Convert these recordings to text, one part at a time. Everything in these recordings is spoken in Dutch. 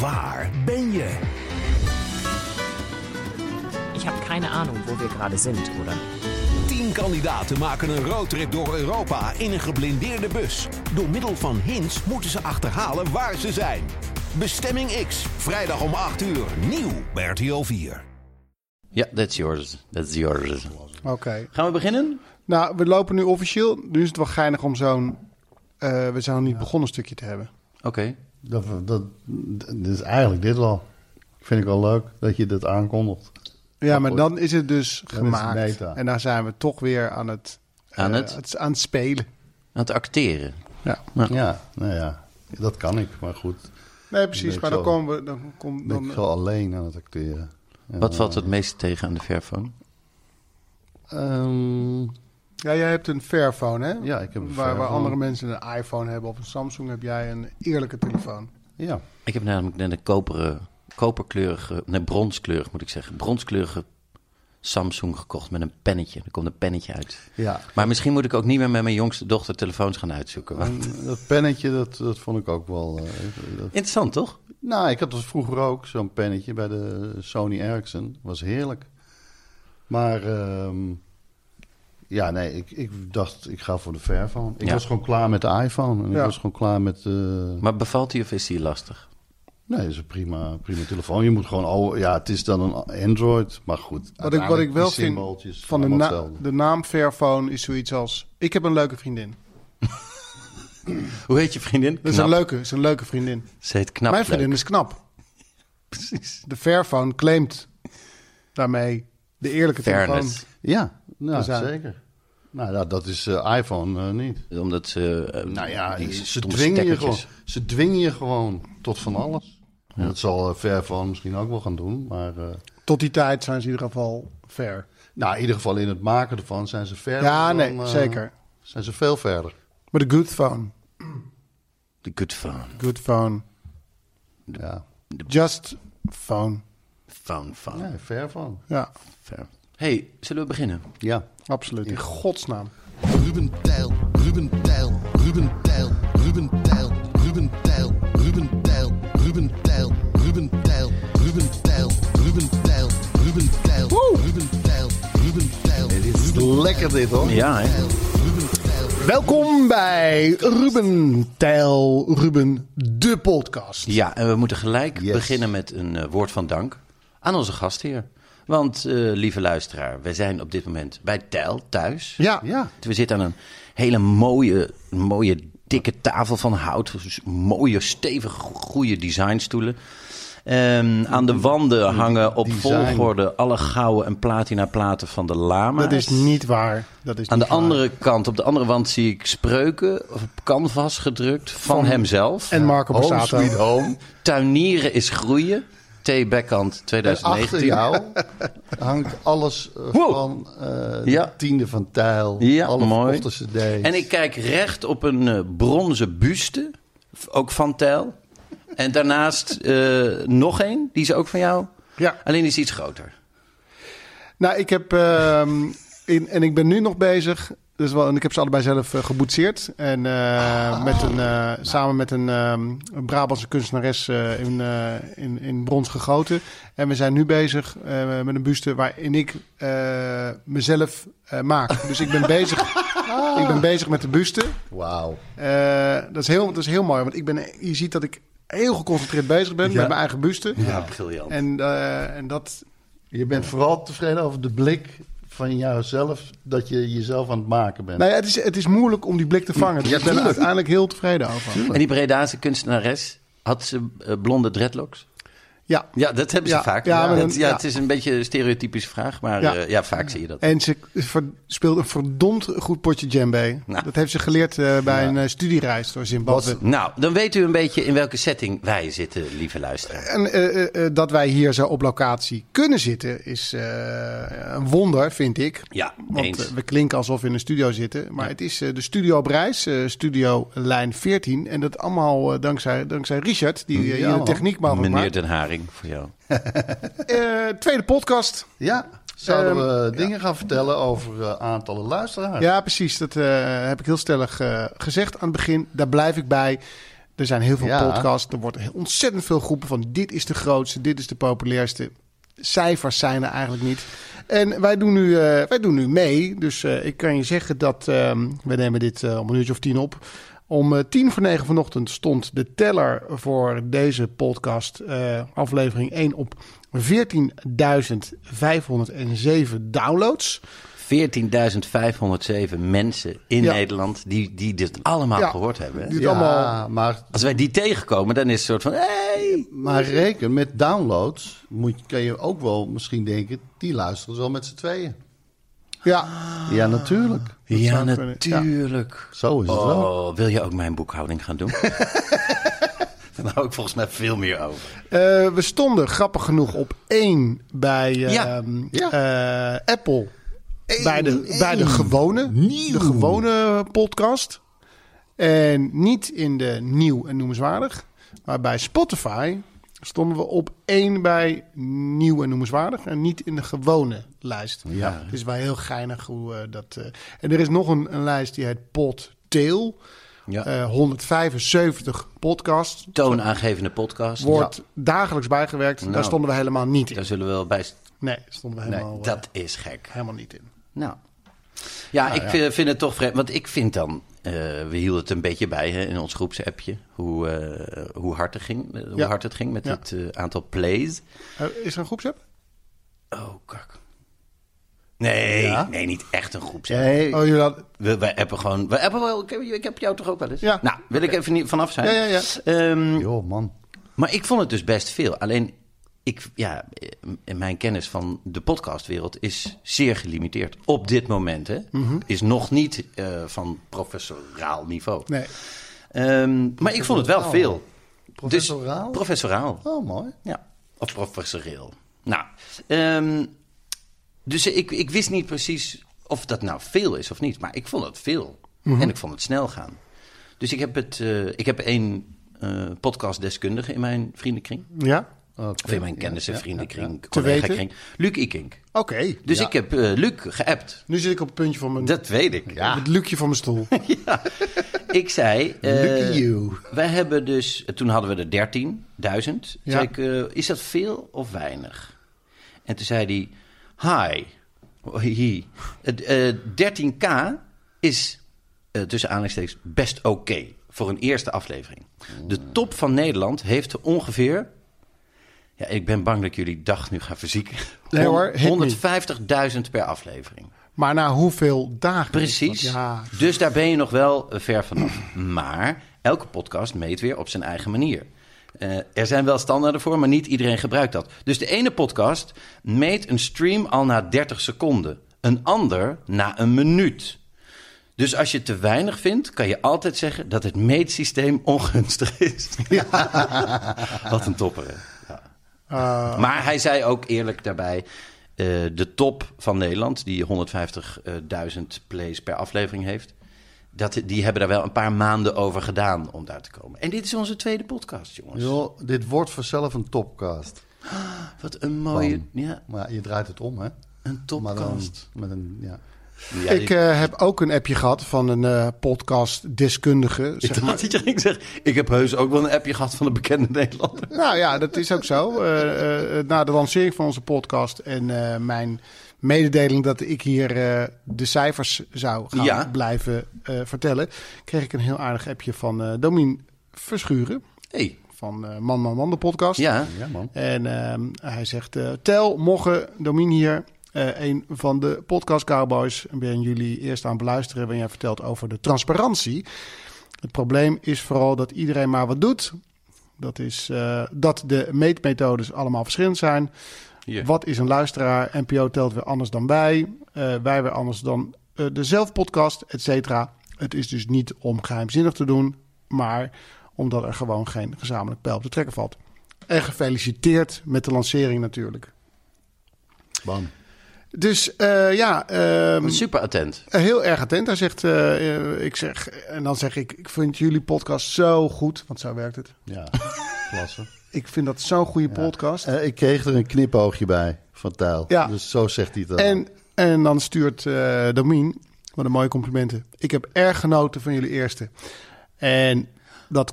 Waar ben je? Ich habe keine Ahnung, wo wir gerade sind, oder? Tien kandidaten maken een roadtrip door Europa in een geblindeerde bus. Door middel van hints moeten ze achterhalen waar ze zijn. Bestemming X, vrijdag om 8 uur, nieuw bij RTL 4. Ja, that's yours. That's yours. Oké. Gaan we beginnen? Nou, we lopen nu officieel. Nu is het wel geinig om zo'n... eh, we zijn nog niet begonnen stukje te hebben. Oké. Dat, dat, dat is eigenlijk dit wel. Vind ik wel leuk dat je dit aankondigt. Ja, maar goed. dan is het dus is gemaakt. meta. En daar zijn we toch weer aan het... Aan eh, het? aan het spelen. Aan het acteren. Ja. Ja, nou ja, dat kan ik, maar goed. Nee, precies. Ik Maar dan zal- komen we... Dan, kom, Ben ik dan, veel alleen aan het acteren. En, Wat valt het meest tegen aan de verfoon? ehm, ja, jij hebt een Fairphone, hè? Ja, ik heb een waar, waar Fairphone. andere mensen een iPhone hebben of een Samsung... heb jij een eerlijke telefoon. ja, Ik heb namelijk net een koperen, koperkleurige, nee, bronskleurig moet ik zeggen, bronskleurige Samsung gekocht met een pennetje. Er komt een pennetje uit. ja. Maar misschien moet ik ook niet meer met mijn jongste dochter telefoons gaan uitzoeken. want- Dat pennetje, dat, dat vond ik ook wel... eh, dat- Interessant, toch? nou, ik had dat vroeger ook, zo'n pennetje bij de Sony Ericsson. was heerlijk. Maar ehm, ja, nee, ik, ik dacht, ik ga voor de Fairphone. Ik Ja. was gewoon klaar met de iPhone. En ik Ja. was gewoon klaar met... eh, Maar bevalt hij of is hij lastig? Nee, dat is een prima, prima telefoon. Je moet gewoon, oh ja, het is dan een Android, maar goed. Wat ik, wat ik wel vind van de, na- naam. de naam Fairphone is zoiets als... Ik heb een leuke vriendin. Hoe heet je vriendin? Dat is Knap. een leuke, is een leuke vriendin. Ze heet knap. Mijn vriendin leuk. is knap. Precies. De Fairphone claimt daarmee de eerlijke Fairness. telefoon. Ja, nou, Dus, eh, zeker. Nou, ja, dat is eh, iPhone eh, niet. Omdat ze... eh, Nou ja, die ze stomme dwingen, je gewoon, stekkertjes. ze dwingen je gewoon tot van alles. En dat zal eh, Fairphone misschien ook wel gaan doen. Maar eh, Tot die tijd zijn ze in ieder geval fair. nou, in ieder geval in het maken ervan zijn ze verder. Ja, dan, nee, eh, zeker. Zijn ze veel verder. Maar de good phone. De good phone. Good phone. Ja, Just phone. Phone, phone. nee, Fairphone. Ja, Fair. hey, zullen we beginnen? Ja. absoluut. In godsnaam. Ruben Tijl, Ruben Tijl, Ruben Tijl, Ruben Tijl, Ruben Tijl, Ruben Tijl, Ruben Tijl, Ruben Tijl, Ruben Tijl, Ruben Tijl, Ruben Tijl, Ruben Tijl, Ruben Tijl, Dit is lekker dit hoor. Ja, hè? Ruben Tijl. Welkom bij Ruben Tijl Ruben, de podcast. Ja, en we moeten gelijk Yes. beginnen met een eh, woord van dank aan onze gastheer. Want, eh, lieve luisteraar, wij zijn op dit moment bij Tijl thuis. Ja. Ja. We zitten aan een hele mooie, mooie dikke tafel van hout. Dus mooie, stevige, goede designstoelen. Ehm, aan de wanden hangen op Design. volgorde alle gouden en platina platen van de lama. Dat is niet waar. Dat is Aan de niet waar. andere kant, op de andere wand zie ik spreuken of op canvas gedrukt van, hemzelf. En Marco Home Borsato. sweet home. Tuinieren is groeien. T. Bekkant En achter 2019. jou hangt alles eh, Wow. van eh, Ja. de tiende van Tijl. Ja, alle mooi. verkochte cd's. En ik kijk recht op een eh, bronzen buste, v- ook van Tijl. En daarnaast eh, nog één, die is ook van jou. Ja. Alleen die is iets groter. Nou, ik heb. ehm, in, en ik ben nu nog bezig. Dus wel, en ik heb ze allebei zelf eh, geboetseerd. En eh, met een, eh, samen met een, ehm, een Brabantse kunstenares eh, in, eh, in, in brons gegoten. En we zijn nu bezig eh, met een buste waarin ik eh, mezelf eh, maak. Dus ik ben bezig, ik ben bezig met de buste. Wauw. Eh, dat, is heel, dat is heel mooi, want ik ben, je ziet dat ik heel geconcentreerd bezig ben met mijn eigen buste. Ja, briljant. En, eh, en dat, Je bent vooral tevreden over de blik van jouzelf dat je jezelf aan het maken bent. Nou ja, het is, het is moeilijk om die blik te vangen. Dus Ja, ik ben er tuurlijk. uiteindelijk heel tevreden over. En die Bredaanse kunstenares, had ze eh, blonde dreadlocks? Ja. Ja, dat hebben ze Ja, vaak. ja, Ja, maar dat- dan- ja, ja. Het is een beetje een stereotypische vraag, maar Ja. eh, ja, vaak zie je dat. En ze ver- speelde een verdomd goed potje djembe. Nou. Dat heeft ze geleerd eh, bij een eh, studiereis door Zimbabwe. Nou, dan weet u een beetje in welke setting wij zitten, lieve luisteraar. En eh, eh, eh, dat wij hier zo op locatie kunnen zitten is eh, een wonder, vind ik. Ja, Want eens. eh, we klinken alsof we in een studio zitten. Maar het is eh, de studio op reis, eh, studio lijn 14. En dat allemaal eh, dankzij, dankzij Richard, die eh, hier de man. techniek mogelijk Meneer maakt. Den Haring, voor jou. Eh, tweede podcast. Ja, zouden we Ehm, dingen gaan vertellen over eh, aantallen luisteraars? Ja, precies. Dat eh, heb ik heel stellig eh, gezegd aan het begin. Daar blijf ik bij. Er zijn heel veel Ja. podcasts. Er wordt heel- ontzettend veel groepen van dit is de grootste, dit is de populairste. Cijfers zijn er eigenlijk niet. En wij doen nu, eh, wij doen nu mee. Dus eh, ik kan je zeggen dat ehm, we nemen dit eh, om een uurtje of tien op. Om eh, tien voor negen vanochtend stond de teller voor deze podcast, eh, aflevering 1, op 14.507 downloads. 14.507 mensen in Ja. Nederland die, die dit allemaal Ja. gehoord hebben. hè? Die- Ja, allemaal- maar, Als wij die tegenkomen, dan is het een soort van... Hey! maar reken, met downloads moet, kan je ook wel misschien denken... die luisteren ze wel met z'n tweeën. Ja, Ja, natuurlijk. Ja, zou kunnen. natuurlijk. Zo is het wel. Oh, wil je ook mijn boekhouding gaan doen? Dan hou ik volgens mij veel meer over. Eh, we stonden grappig genoeg op één bij eh, Ja, ehm, ja. eh, Apple. bij, de, bij de gewone, de gewone podcast. En niet in de nieuw en noemenswaardig. Maar bij Spotify stonden we op één bij nieuw en noemenswaardig. En niet in de gewone lijst. Ja. Het is wel heel geinig hoe eh, dat... eh, en er is nog een, een lijst die heet Podtail. Ja. Eh, 175 podcasts Toonaangevende podcast. wordt Ja. dagelijks bijgewerkt. Nou. Daar stonden we helemaal niet in. Daar zullen we wel bij... st- Nee, stonden we helemaal, Nee, eh, dat is gek. helemaal niet in. Nou. Ja, Nou ik eh, vind het toch vreemd. Want ik vind dan, eh, we hielden het een beetje bij hè, in ons groepsappje. Hoe, eh, hoe, hard, het ging, eh, hoe Ja. hard het ging met Ja. het eh, aantal plays. Eh, is er een groepsapp? Oh, kak. Nee, nee, niet echt een groepsapp. Hey, Oh, jullie hadden... We, wij appen gewoon. Wij appen wel, ik, heb, ik heb jou toch ook wel eens? Ja. Nou, wil ik even niet vanaf zijn. Ja, ja, ja. Ehm, joh, man. maar ik vond het dus best veel. Alleen, ik, ja, eh, mijn kennis van de podcastwereld is zeer gelimiteerd. Op dit moment, hè. Is nog niet eh, van professoraal niveau. Nee. Ehm, maar ik vond het wel veel. Professoraal? Dus, professoraal. Oh, mooi. Ja, of professoreel. Nou, ehm, dus ik, ik wist niet precies of dat nou veel is of niet, maar ik vond het veel. En ik vond het snel gaan. Dus ik heb, het, eh, ik heb één eh, podcastdeskundige in mijn vriendenkring. Ja? Of in mijn kennissen, vriendenkring, Te weten? collega-kring. Luc Ikink. Oké. Dus ik heb eh, Luc geappt. Nu zit ik op het puntje van mijn... Dat weet ik. Ja. Het luikje van mijn stoel. Ik zei, eh, Lucky you. wij hebben dus, toen hadden we er 13.000. Ja. Zei ik, eh, is dat veel of weinig? En toen zei hij, hi, Oh, hi, hi. Het, eh, 13k is eh, tussen aanhalingstekens best oké voor een eerste aflevering. De top van Nederland heeft ongeveer, ja, ik ben bang dat jullie dag nu gaan verzieken, Nee hoor, hit me. 150.000 per aflevering. Maar na hoeveel dagen? Precies. Ja. Dus daar ben je nog wel eh, ver vanaf. Maar elke podcast meet weer op zijn eigen manier. Eh, er zijn wel standaarden voor, maar niet iedereen gebruikt dat. Dus de ene podcast meet een stream al na 30 seconden. Een ander na een minuut. Dus als je te weinig vindt, kan je altijd zeggen dat het meetsysteem ongunstig is. Wat een topper. hè? Ja. Eh, Maar hij zei ook eerlijk daarbij. eh, de top van Nederland, die 150.000 plays per aflevering heeft. Dat, die hebben daar wel een paar maanden over gedaan om daar te komen. En dit is onze tweede podcast, jongens. Joh, dit wordt vanzelf een topcast. Wat een mooie. Bam. Ja, Maar ja, je draait het om, hè? een Maar dan topcast. met een, ja. Ja, ik dit- eh, heb ook een appje gehad van een eh podcast-deskundige. ik Zeg dacht maar. dat je ging zeggen, ik heb heus ook wel een appje gehad van een bekende Nederlander. Nou ja, dat is ook zo. Eh, eh, na de lancering van onze podcast en eh, mijn mededeling dat ik hier eh, de cijfers zou gaan Ja. blijven eh, vertellen, kreeg ik een heel aardig appje van eh Domien Verschuren hey, van eh, Man Man Man de podcast. ja. ja, man. En ehm, hij zegt, eh, tel, mogen, Domien hier, eh, een van de podcast Cowboys. En ben jullie eerst aan het beluisteren ben jij vertelt over de transparantie. Het probleem is vooral dat iedereen maar wat doet. Dat is eh, dat de meetmethodes allemaal verschillend zijn. Hier. Wat is een luisteraar? NPO telt weer anders dan wij. eh, wij weer anders dan eh, de zelfpodcast, et cetera. Het is dus niet om geheimzinnig te doen, maar omdat er gewoon geen gezamenlijk pijl op de trekker valt. En gefeliciteerd met de lancering natuurlijk. Bam. Dus eh, ja, ehm, Super attent. heel erg attent. Hij zegt, eh, eh, ik zeg, en dan zeg ik, ik vind jullie podcast zo goed, want zo werkt het. Ja, klasse. Ik vind dat zo'n goede podcast. Eh, ik kreeg er een knipoogje bij van Tijl. Ja. Dus zo zegt hij dat. En, en dan stuurt eh Domien, wat een mooie complimenten. Ik heb erg genoten van jullie eerste. En dat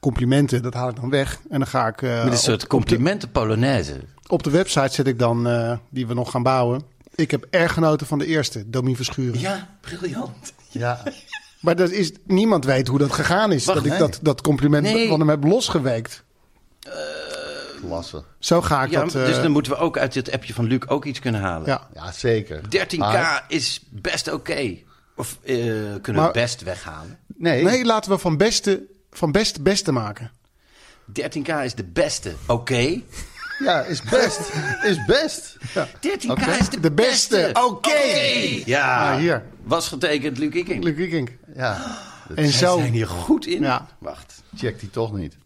complimenten, dat haal ik dan weg. En dan ga ik eh, Met een op, soort complimenten Polonaise. op de website zet ik dan, eh, die we nog gaan bouwen. Ik heb erg genoten van de eerste, Domien Verschuren. Ja, briljant. Ja, Maar dat is, niemand weet hoe dat gegaan is. Wacht, dat ik nee. dat, dat compliment Nee. van hem heb losgeweekt. klasse. Zo ga ik Ja, dat... eh, dus dan moeten we ook uit dit appje van Luc ook iets kunnen halen. ja. Ja, zeker. 13k Maar- is best oké. Of eh, kunnen Maar- we best weghalen. Nee, Nee, laten we van beste, van best beste maken. 13k is de beste. Oké. ja, is best. is best. 13k Oké. is de, De beste. Oké. Ja, Ah, hier. Was getekend Luc Iking. Luc Wiekink. Ja, En Zij zo... zijn hier goed in. Ja. Wacht. check die toch niet.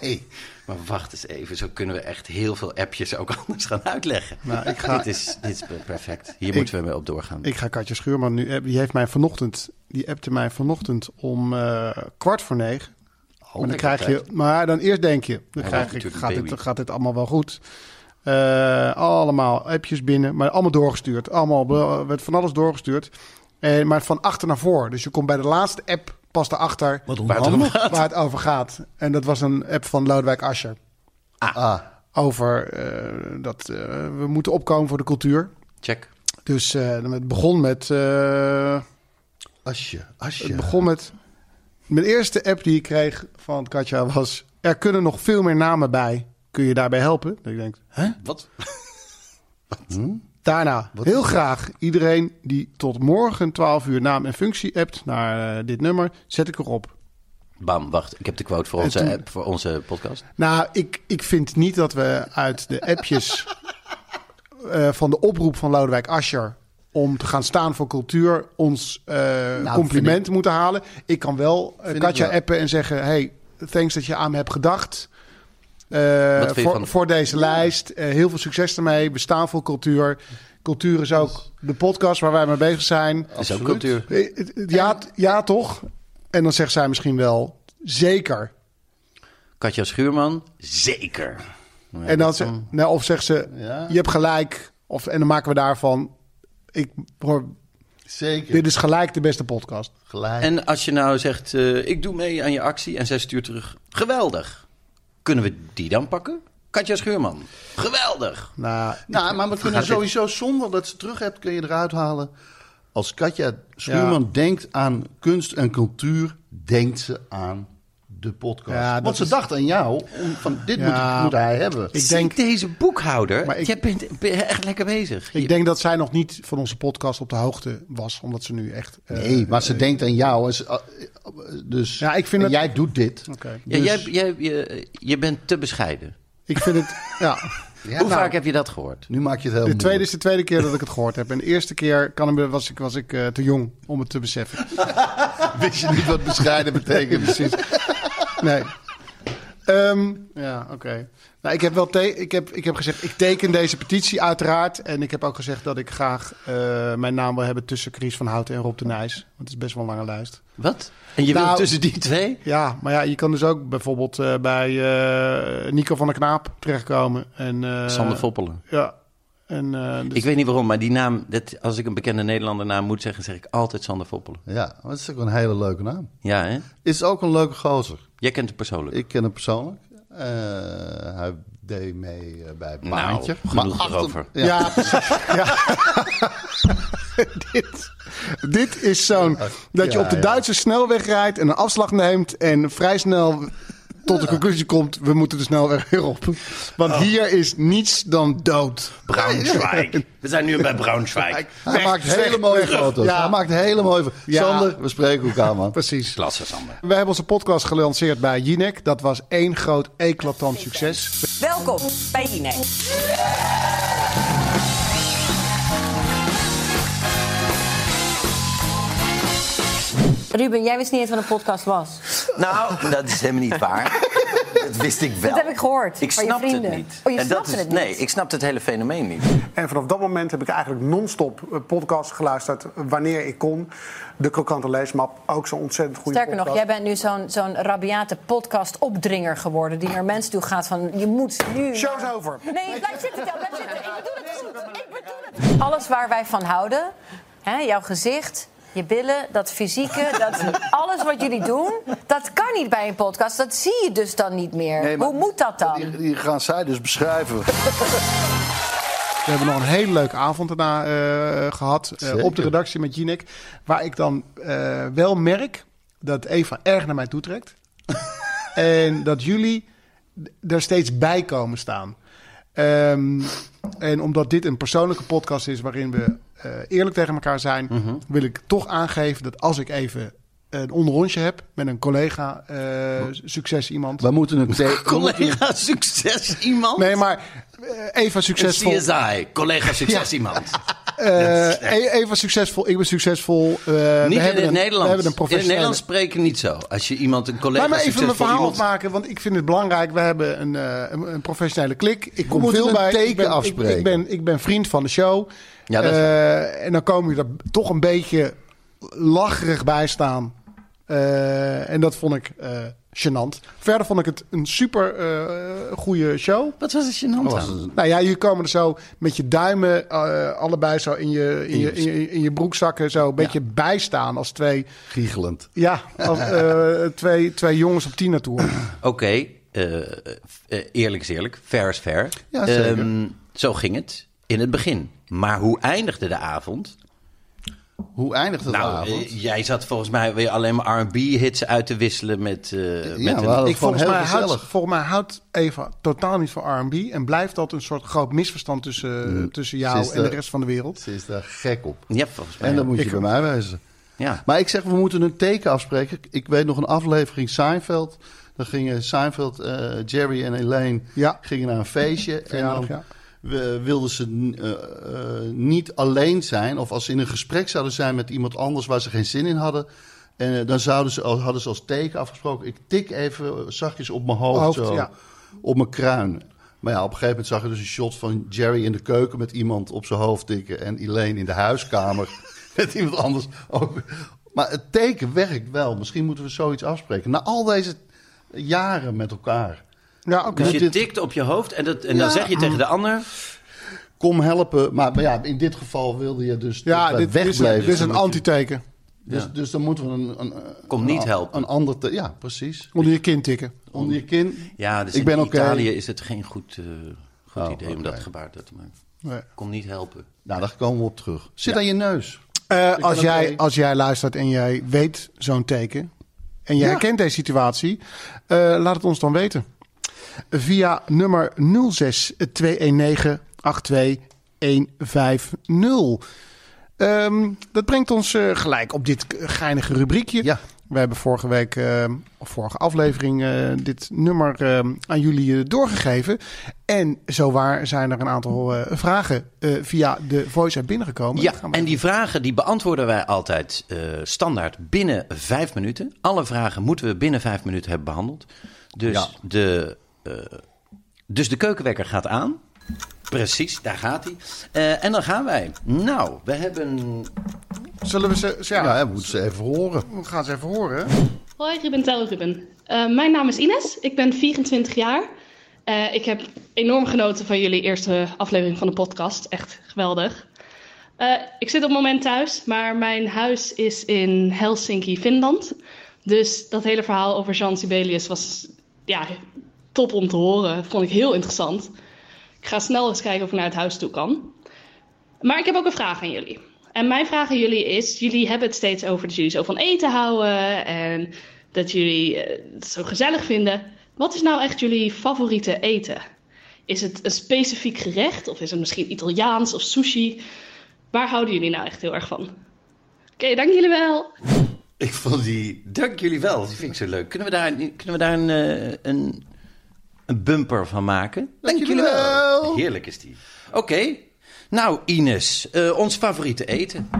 Nee. Maar wacht eens even. Zo kunnen we echt heel veel appjes ook anders gaan uitleggen. Nou, ik ga- dit, is, dit is perfect. Hier moeten we mee op doorgaan. Ik ga Katja Schuurman nu appen. Die heeft mij vanochtend, die appte mij vanochtend om eh, kwart voor negen. maar dan Oh, lekker krijg je, tijd. maar dan eerst denk je, Hij dan krijg was ik, natuurlijk gaat, een dit, baby. gaat dit allemaal wel goed. Eh, allemaal appjes binnen, maar allemaal doorgestuurd. Allemaal be- werd van alles doorgestuurd. En, maar van achter naar voor. Dus je komt bij de laatste app pas erachter Waar het om gaat. waar het over gaat. En dat was een app van Lodewijk Asscher. Ah, Over eh, dat eh, we moeten opkomen voor de cultuur. Check. Dus eh, het begon met... eh, asje, asje. Het begon met. Mijn eerste app die ik kreeg van Katja was. Er kunnen nog veel meer namen bij. Kun je daarbij helpen? Dat ik denk. Hè? Wat? Daarna, heel graag iedereen die tot morgen 12 uur naam en functie appt naar eh, dit nummer, zet ik erop. Bam, wacht. Ik heb de quote voor En onze, Eh, toen- app, voor onze podcast. Nou, ik, ik vind niet dat we uit de appjes eh, van de oproep van Lodewijk Asscher om te gaan staan voor cultuur ons eh, Nou, compliment moeten halen. Ik kan wel eh, ik Katja wel. appen en zeggen: hey, thanks dat je aan me hebt gedacht. eh, vind je voor, van- voor deze lijst. Eh, heel veel succes ermee. We staan voor cultuur. Cultuur is ook de podcast waar wij mee bezig zijn. Is ook cultuur. Eh, eh, Ja, t- ja, toch? En dan zegt zij misschien wel: zeker. Katja Schuurman, zeker. Ja, En dan dat- ze, nou, of zegt ze, Ja. je hebt gelijk. Of, en dan maken we daarvan, ik, hoor, Zeker. dit is gelijk de beste podcast. Gelijk. En als je nou zegt, eh, ik doe mee aan je actie en zij stuurt terug, geweldig. Kunnen we die dan pakken? Katja Schuurman, geweldig. Nou, Nou, maar we kunnen sowieso zonder dat ze terug hebt, kun je eruit halen. Als Katja Schuurman Ja. denkt aan kunst en cultuur, denkt ze aan de podcast. Ja, dat Want ze is- dacht aan jou, om, van dit Ja. moet, moet hij hebben. Ik Ik denk- denk deze boekhouder, Maar ik- jij bent, ben je echt lekker bezig. ik denk dat zij nog niet van onze podcast op de hoogte was. Omdat ze nu echt... eh, Nee, maar ze denkt aan jou. en ze- ah, Dus Ja, ik vind en het- jij doet dit. Oké. Dus Ja, jij, jij, je, je bent te bescheiden. Ik vind het, ja. Ja, Hoe nou, vaak heb je dat gehoord? Nu maak je het heel De tweede moeilijk. is de tweede keer dat ik het gehoord heb. En de eerste keer kan, hem- was ik, was ik eh, te jong om het te beseffen. Wist je niet wat bescheiden betekent? Precies. Nee. Ehm, ja, oké. Nou, ik heb wel te- ik heb, ik heb gezegd, ik teken deze petitie uiteraard. En ik heb ook gezegd dat ik graag eh, mijn naam wil hebben tussen Chris van Houten en Rob de Nijs. Want het is best wel een lange lijst. Wat? En je Nou- wilt tussen die twee? Ja, maar ja, je kan dus ook bijvoorbeeld eh, bij eh, Nico van der Knaap terechtkomen. En, eh, Sander Voppelen. Ja. En, eh, dus- Ik weet niet waarom, maar die naam, dat, als ik een bekende Nederlander naam moet zeggen, zeg ik altijd Sander Voppelen. Ja, maar dat is ook een hele leuke naam. Ja, hè? Is ook een leuke gozer. Jij kent hem persoonlijk. Ik ken hem persoonlijk. Eh, hij deed mee eh, bij Nou, Baantje. genoeg erover. ja, precies. Ja. dit, dit is zo'n... Dat je Ja, op de ja. Duitse snelweg rijdt en een afslag neemt... en vrij snel tot de conclusie komt, we moeten de snelweg weer op. Want Oh. hier is niets dan dood. Braunschweig. We zijn nu bij Braunschweig. Hij maakt hele mooie foto's. Ja. Hij maakt hele mooie foto's. Ja. Sander, we spreken elkaar, man. Precies. Klasse, Sander. We hebben onze podcast gelanceerd bij Jinek. Dat was één groot eclatant succes. Welkom bij Jinek. Ruben, jij wist niet eens wat een podcast was. Nou, dat is helemaal niet waar. dat wist ik wel. Dat heb ik gehoord Ik van je snapte het vrienden. niet. Oh, je En dat snapte is- het niet? Nee, ik snapte het hele fenomeen niet. En vanaf dat moment heb ik eigenlijk non-stop eh, podcasts geluisterd eh, wanneer ik kon. De krokante leesmap, ook zo'n ontzettend goede Sterker nog, podcast. jij bent nu zo'n zo'n rabiate podcast-opdringer geworden... die naar mensen toe gaat van, je moet nu... Show is over. Nee, blijf zitten, Tel, blijf zitten. Ik bedoel het goed, ik bedoel het. Alles waar wij van houden, hè, jouw gezicht, je billen, dat fysieke... Dat, alles wat jullie doen, dat kan niet bij een podcast. Dat zie je dus dan niet meer. Nee, maar- Hoe moet dat dan? Die, die gaan zij dus beschrijven. We hebben nog een hele leuke avond daarna eh, gehad. eh, Zeker. op de redactie met Jinek. Waar ik dan eh, wel merk dat Eva erg naar mij toetrekt. en dat jullie d- er steeds bij komen staan. Ehm, en omdat dit een persoonlijke podcast is waarin we eh, eerlijk tegen elkaar zijn, wil ik toch aangeven dat als ik even een onderrondje heb met een collega, eh, succes iemand. We moeten een thee- we moeten een- Collega succes iemand. Nee, maar eh, Eva Een succesvol. CSI, collega succes iemand. Eh, E- Eva succesvol, ik ben succesvol. eh, Niet we in hebben het een, Nederlands. We hebben een in het professionele... Nederlands spreken niet zo. Als je iemand een collega Laat me even succesvol mijn verhaal iemand... afmaken, want ik vind het belangrijk. We hebben een, eh, een, een professionele klik. Ik kom moeten veel een bij. teken ik, ben, ik- Ik, afspreken. ben, ik ben vriend van de show. Ja, dat is Eh, en dan komen jullie er toch een beetje lacherig bij staan. Eh, en dat vond ik eh gênant. Verder vond ik het een super eh goede show. Wat was het gênant was aan? het- Nou ja, jullie komen er zo met je duimen eh, allebei zo in je, in, je, in, je, in je broekzakken zo een beetje bijstaan als twee, Giechelend. ja, als, eh, twee, twee jongens op tien naartoe. Oké, eh, eh, eerlijk is eerlijk. Fair is fair. Ja, zeker. Ehm, zo ging het in het begin. Maar hoe eindigde de avond? Hoe eindigt het Nou, avond? eh, jij zat volgens mij weer alleen maar R&B-hits uit te wisselen met, eh, ja, met we een- hadden Ik het gewoon volgens heel mij, houdt, gezellig. volgens mij houdt Eva totaal niet van R&B en blijft dat een soort groot misverstand tussen, tussen jou Ze is en Mm. de de- rest van de wereld. Ze is daar gek op. Ja, volgens mij. En dan moet je Ik- bij mij wijzen. ja. Maar ik zeg, we moeten een teken afspreken. Ik weet nog een aflevering Seinfeld. Dan gingen Seinfeld, eh, Jerry en Elaine Ja. gingen naar een feestje. Verjaardag, en dan ja. we- wilden ze eh, eh, niet alleen zijn. Of als ze in een gesprek zouden zijn met iemand anders waar ze geen zin in hadden. En eh, dan zouden ze, als- hadden ze als teken afgesproken. Ik tik even zachtjes op mijn hoofd. Hoofd, zo, ja. Op mijn kruin. Maar ja, op een gegeven moment zag je dus een shot van Jerry in de keuken met iemand op zijn hoofd tikken. En Elaine in de huiskamer met iemand anders. Ook. Maar het teken werkt wel. Misschien moeten we zoiets afspreken. Na al deze jaren met elkaar. Ja, oké. Dus Moet je dit- tikt op je hoofd en, dat, en Ja. ah. dan zeg je tegen de ander... Kom helpen. Maar, maar ja, in dit geval wilde je dus Ja, dat we dit, dit is, wegbleven. dit is een antiteken. Dus, dus dan moeten we een... een Kom een- niet helpen. Een ander... te- ja, precies. Onder je kin tikken. Onder je kin. Ja, dus Ik in ben oké. Italië is het geen goed, eh, goed Oh, idee om oké. dat gebaar te maken. Nee. Kom niet helpen. Nou, daar komen we op terug. Zit aan je neus. Eh, ben als, oké. jij, als jij luistert en jij weet zo'n teken. en jij Ja. herkent deze situatie. eh, laat het ons dan weten. Via nummer 06 219 82150. Ehm, dat brengt ons eh, gelijk op dit geinige rubriekje. Ja. We hebben vorige week, ehm, of vorige aflevering, eh, dit nummer ehm, aan jullie eh, doorgegeven. En zowaar zijn er een aantal eh, vragen eh, via de voice-app binnengekomen. Ja, Gaan we en die vragen die beantwoorden wij altijd eh, standaard binnen vijf minuten. Alle vragen moeten we binnen vijf minuten hebben behandeld. Dus, Ja. de, eh, dus de keukenwekker gaat aan. Precies, daar gaat hij. Eh, en dan gaan wij. Nou, we hebben Zullen we ze... ze- Ja, ja, hè, we moeten ze even horen. we gaan ze even horen. Hoi Ruben Tel Ruben. Eh, mijn naam is Ines, ik ben 24 jaar. Eh, ik heb enorm genoten van jullie eerste aflevering van de podcast. Echt geweldig. Eh, ik zit op het moment thuis, maar mijn huis is in Helsinki, Finland. Dus dat hele verhaal over Jean Sibelius was ja, top om te horen. Vond ik heel interessant. Ik ga snel eens kijken of ik naar het huis toe kan. Maar ik heb ook een vraag aan jullie. En mijn vraag aan jullie is: jullie hebben het steeds over dat jullie zo van eten houden en dat jullie eh, het zo gezellig vinden. Wat is nou echt jullie favoriete eten? Is het een specifiek gerecht of is het misschien Italiaans of sushi? Waar houden jullie nou echt heel erg van? Oké, dank jullie wel. Ik vond die... Dank jullie wel, die vind ik zo leuk. Kunnen we daar, kunnen we daar een, eh, een, een bumper van maken? Dank jullie wel. Heerlijk is die. Oké. Nou, Ines, eh, ons favoriete eten.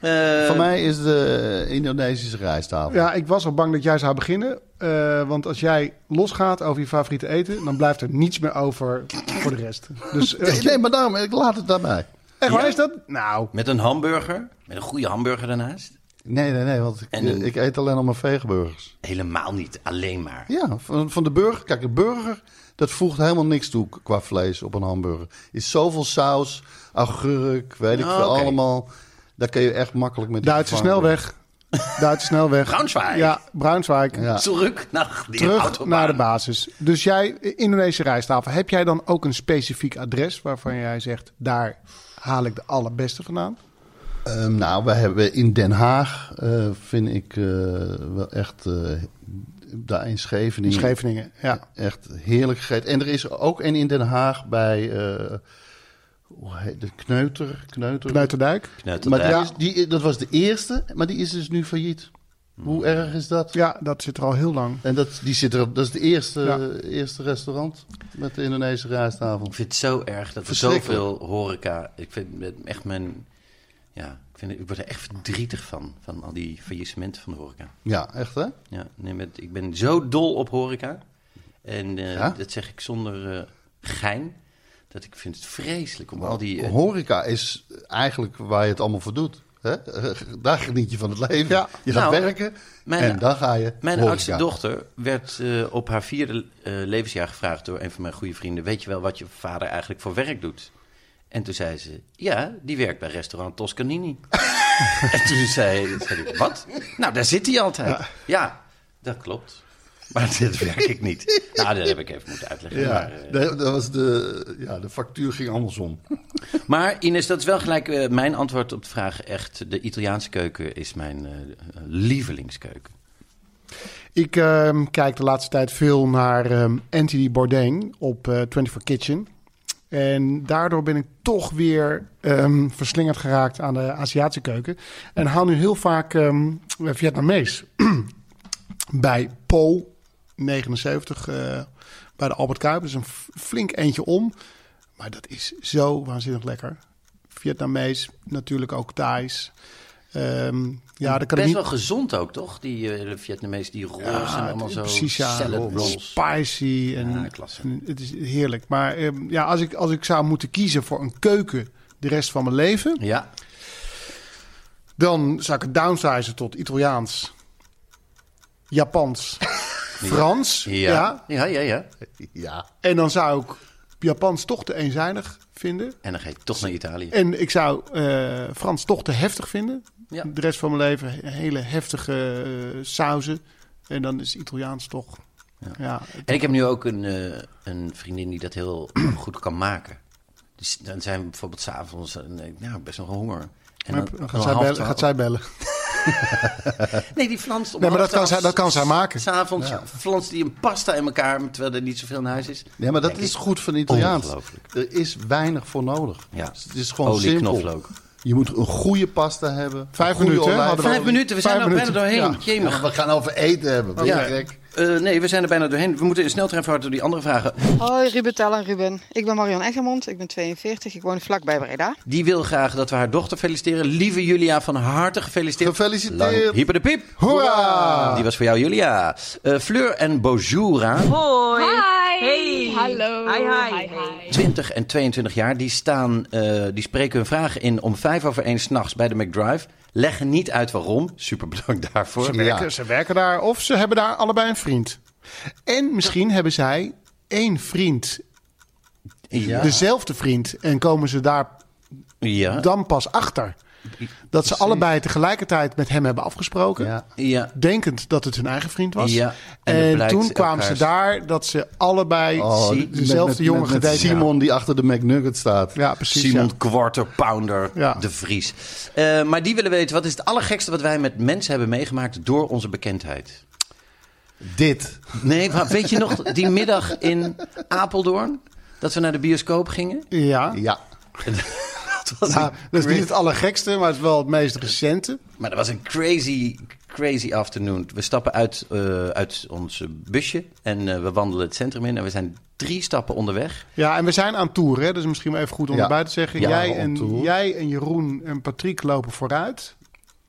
Eh, Voor mij is de Indonesische rijsttafel. Ja, ik was al bang dat jij zou beginnen. eh, want als jij losgaat over je favoriete eten, dan blijft er niets meer over voor de rest. Dus eh, Nee, maar daarom, ik laat het daarbij. echt waar is dat? Nou, Met een hamburger. Met een goede hamburger daarnaast. Nee, nee, nee, want ik, En een- ik eet alleen nog maar vegenburgers. Helemaal niet, alleen maar. Ja, van, van de burger. Kijk, een burger, dat voegt helemaal niks toe qua vlees op een hamburger. Is zoveel saus, augurk, weet ik Oh, veel, oké. allemaal. Daar kun je echt makkelijk met... Duitse snelweg. Duitse snelweg. Braunschweig. Ja, Bruinswijk. Ja. Terug naar die Terug autobahn. naar de basis. Dus jij, Indonesische rijsttafel, heb jij dan ook een specifiek adres waarvan jij zegt, daar haal ik de allerbeste vandaan? Ehm, nou, we hebben in Den Haag, eh, vind ik eh, wel echt, eh daar in Scheveningen, Scheveningen, ja. echt heerlijk gegeten. En er is ook een in Den Haag bij, eh, hoe heet de Kneuter? Kneuter. Kneuterdijk. Maar die ja. is- die, dat was de eerste, maar die is dus nu failliet. Hoe Hmm. erg is dat? Ja, dat zit er al heel lang. En dat, die zit er, dat is de eerste, Ja. eerste restaurant met de Indonesische rijsttafel. Ik vind het zo erg dat er Verschrikkelijk. zoveel horeca... Ik vind het echt mijn... Ja, ik, vind, het- ik word er echt verdrietig van. Van al die faillissementen van de horeca. Ja, echt hè? Ja, nee, met, ik ben zo dol op horeca. En eh, Ja? dat zeg ik zonder eh, gein. Dat ik vind het vreselijk Oh, om al die... eh, Horeca is eigenlijk waar je het allemaal voor doet. Hè? Daar geniet je van het leven. Ja. Je gaat Nou, werken mijn- en dan ga je Mijn horeca. oudste dochter werd eh, op haar vierde eh, levensjaar gevraagd door een van mijn goede vrienden: Weet je wel wat je vader eigenlijk voor werk doet? En toen zei ze: Ja, die werkt bij restaurant Toscanini. en toen zei, zei ik: Wat? Nou, daar zit hij altijd. Ja, dat klopt. Maar dit werk ik niet. Nou, dat heb ik even moeten uitleggen. Ja, Maar, eh, nee, dat was de, ja, de factuur ging andersom. maar Ines, dat is wel gelijk eh, mijn antwoord op de vraag. Echt, de Italiaanse keuken is mijn eh, lievelingskeuken. Ik ehm, kijk de laatste tijd veel naar ehm Anthony Bourdain op eh 24 Kitchen. En daardoor ben ik toch weer ehm, verslingerd geraakt aan de Aziatische keuken. En haal nu heel vaak ehm Vietnamees. bij Po 79 eh, bij de Albert Kuip. Dus een f- flink eentje om. Maar dat is zo waanzinnig lekker. Vietnamees, natuurlijk ook Thais. Ehm, ja, dat kan ik Best niet... wel gezond ook, toch? Die eh Vietnamees, die rolls en allemaal het- zo. Precies, ja. salad rolls. Spicy. En, Ja, klasse. en het is heerlijk. Maar ehm, ja, als, ik, als ik zou moeten kiezen voor een keuken de rest van mijn leven... Ja, dan zou ik het downsizen tot Italiaans, Japans, Frans. ja, Ja. ja, ja, ja, Ja, En dan zou ik Japans toch te eenzijdig vinden. En dan ga je toch naar Italië. En ik zou eh, Frans toch te heftig vinden. Ja. De rest van mijn leven he- hele heftige eh, sauzen. En dan is Italiaans toch... Ja. En ik heb nu ook een, eh, een vriendin die dat heel goed kan maken. Dus dan zijn we bijvoorbeeld s'avonds, nou, best wel honger. En Maar dan, gaat, om zij half bellen, twaalf- gaat zij bellen? Nee, die flanst om Nee, maar half dat kan, zij, twaalf dat kan zij maken. S'avonds flanst die een pasta in elkaar, terwijl er niet zoveel in huis is. ja maar dat Denk is ik, goed van Italiaans. Ongelooflijk. Er is weinig voor nodig. Dus Ja. Het is gewoon Olie, simpel. knoflook. Je moet een goede pasta hebben. Vijf een goede minuten, hè? olijfolie. Hadden Vijf minuten, we zijn Vijf er bijna minuten. doorheen. Ja. Jemig. Ja, we gaan over eten hebben. Ben je Ja. gek? Eh, nee, we zijn er bijna doorheen. We moeten in sneltreinvaart door die andere vragen. Hoi Ruben, Tel en Ruben. Ik ben Marion Eggermond, ik ben 42, ik woon vlakbij Breda. Die wil graag dat we haar dochter feliciteren. Lieve Julia, van harte gefeliciteerd. Gefeliciteerd. Lang hyper de piep. Hoera! Die was voor jou, Julia. Eh, Fleur en Bojura, Hoi. Hey. Hallo. Hi, hi. 20 en 22 jaar, die, staan, eh, die spreken hun vragen in om vijf over één s'nachts bij de McDrive. Leggen niet uit waarom. Super bedankt daarvoor. Ze werken, ze werken daar of ze hebben daar allebei een vriend. En misschien hebben zij één vriend, Ja. dezelfde vriend, en komen ze daar ja. Dus dan pas achter. Dat ze allebei tegelijkertijd met hem hebben afgesproken. Ja. ja. Denkend dat het hun eigen vriend was. Ja, en het en blijkt toen kwamen ze elkaars- daar dat ze allebei Oh, de- met- dezelfde met- jongen met- met gedate hebben. Simon die achter de McNugget staat. Ja, precies. Simon ja. Quarter Pounder Ja. de Vries. Eh, maar die willen weten, wat is het allergekste wat wij met mensen hebben meegemaakt door onze bekendheid? Dit. Nee, maar weet je nog die middag in Apeldoorn? Dat we naar de bioscoop gingen? Ja. Ja. was Nou, een dat is niet cra- het allergekste, maar het is wel het meest recente. Maar dat was een crazy, crazy afternoon. We stappen uit, eh, uit ons busje en eh, we wandelen het centrum in. En we zijn drie stappen onderweg. Ja, en we zijn aan tour, hè? dus misschien wel even goed om Ja. erbij te zeggen. Ja, jij, on en, tour. jij en Jeroen en Patrick lopen vooruit.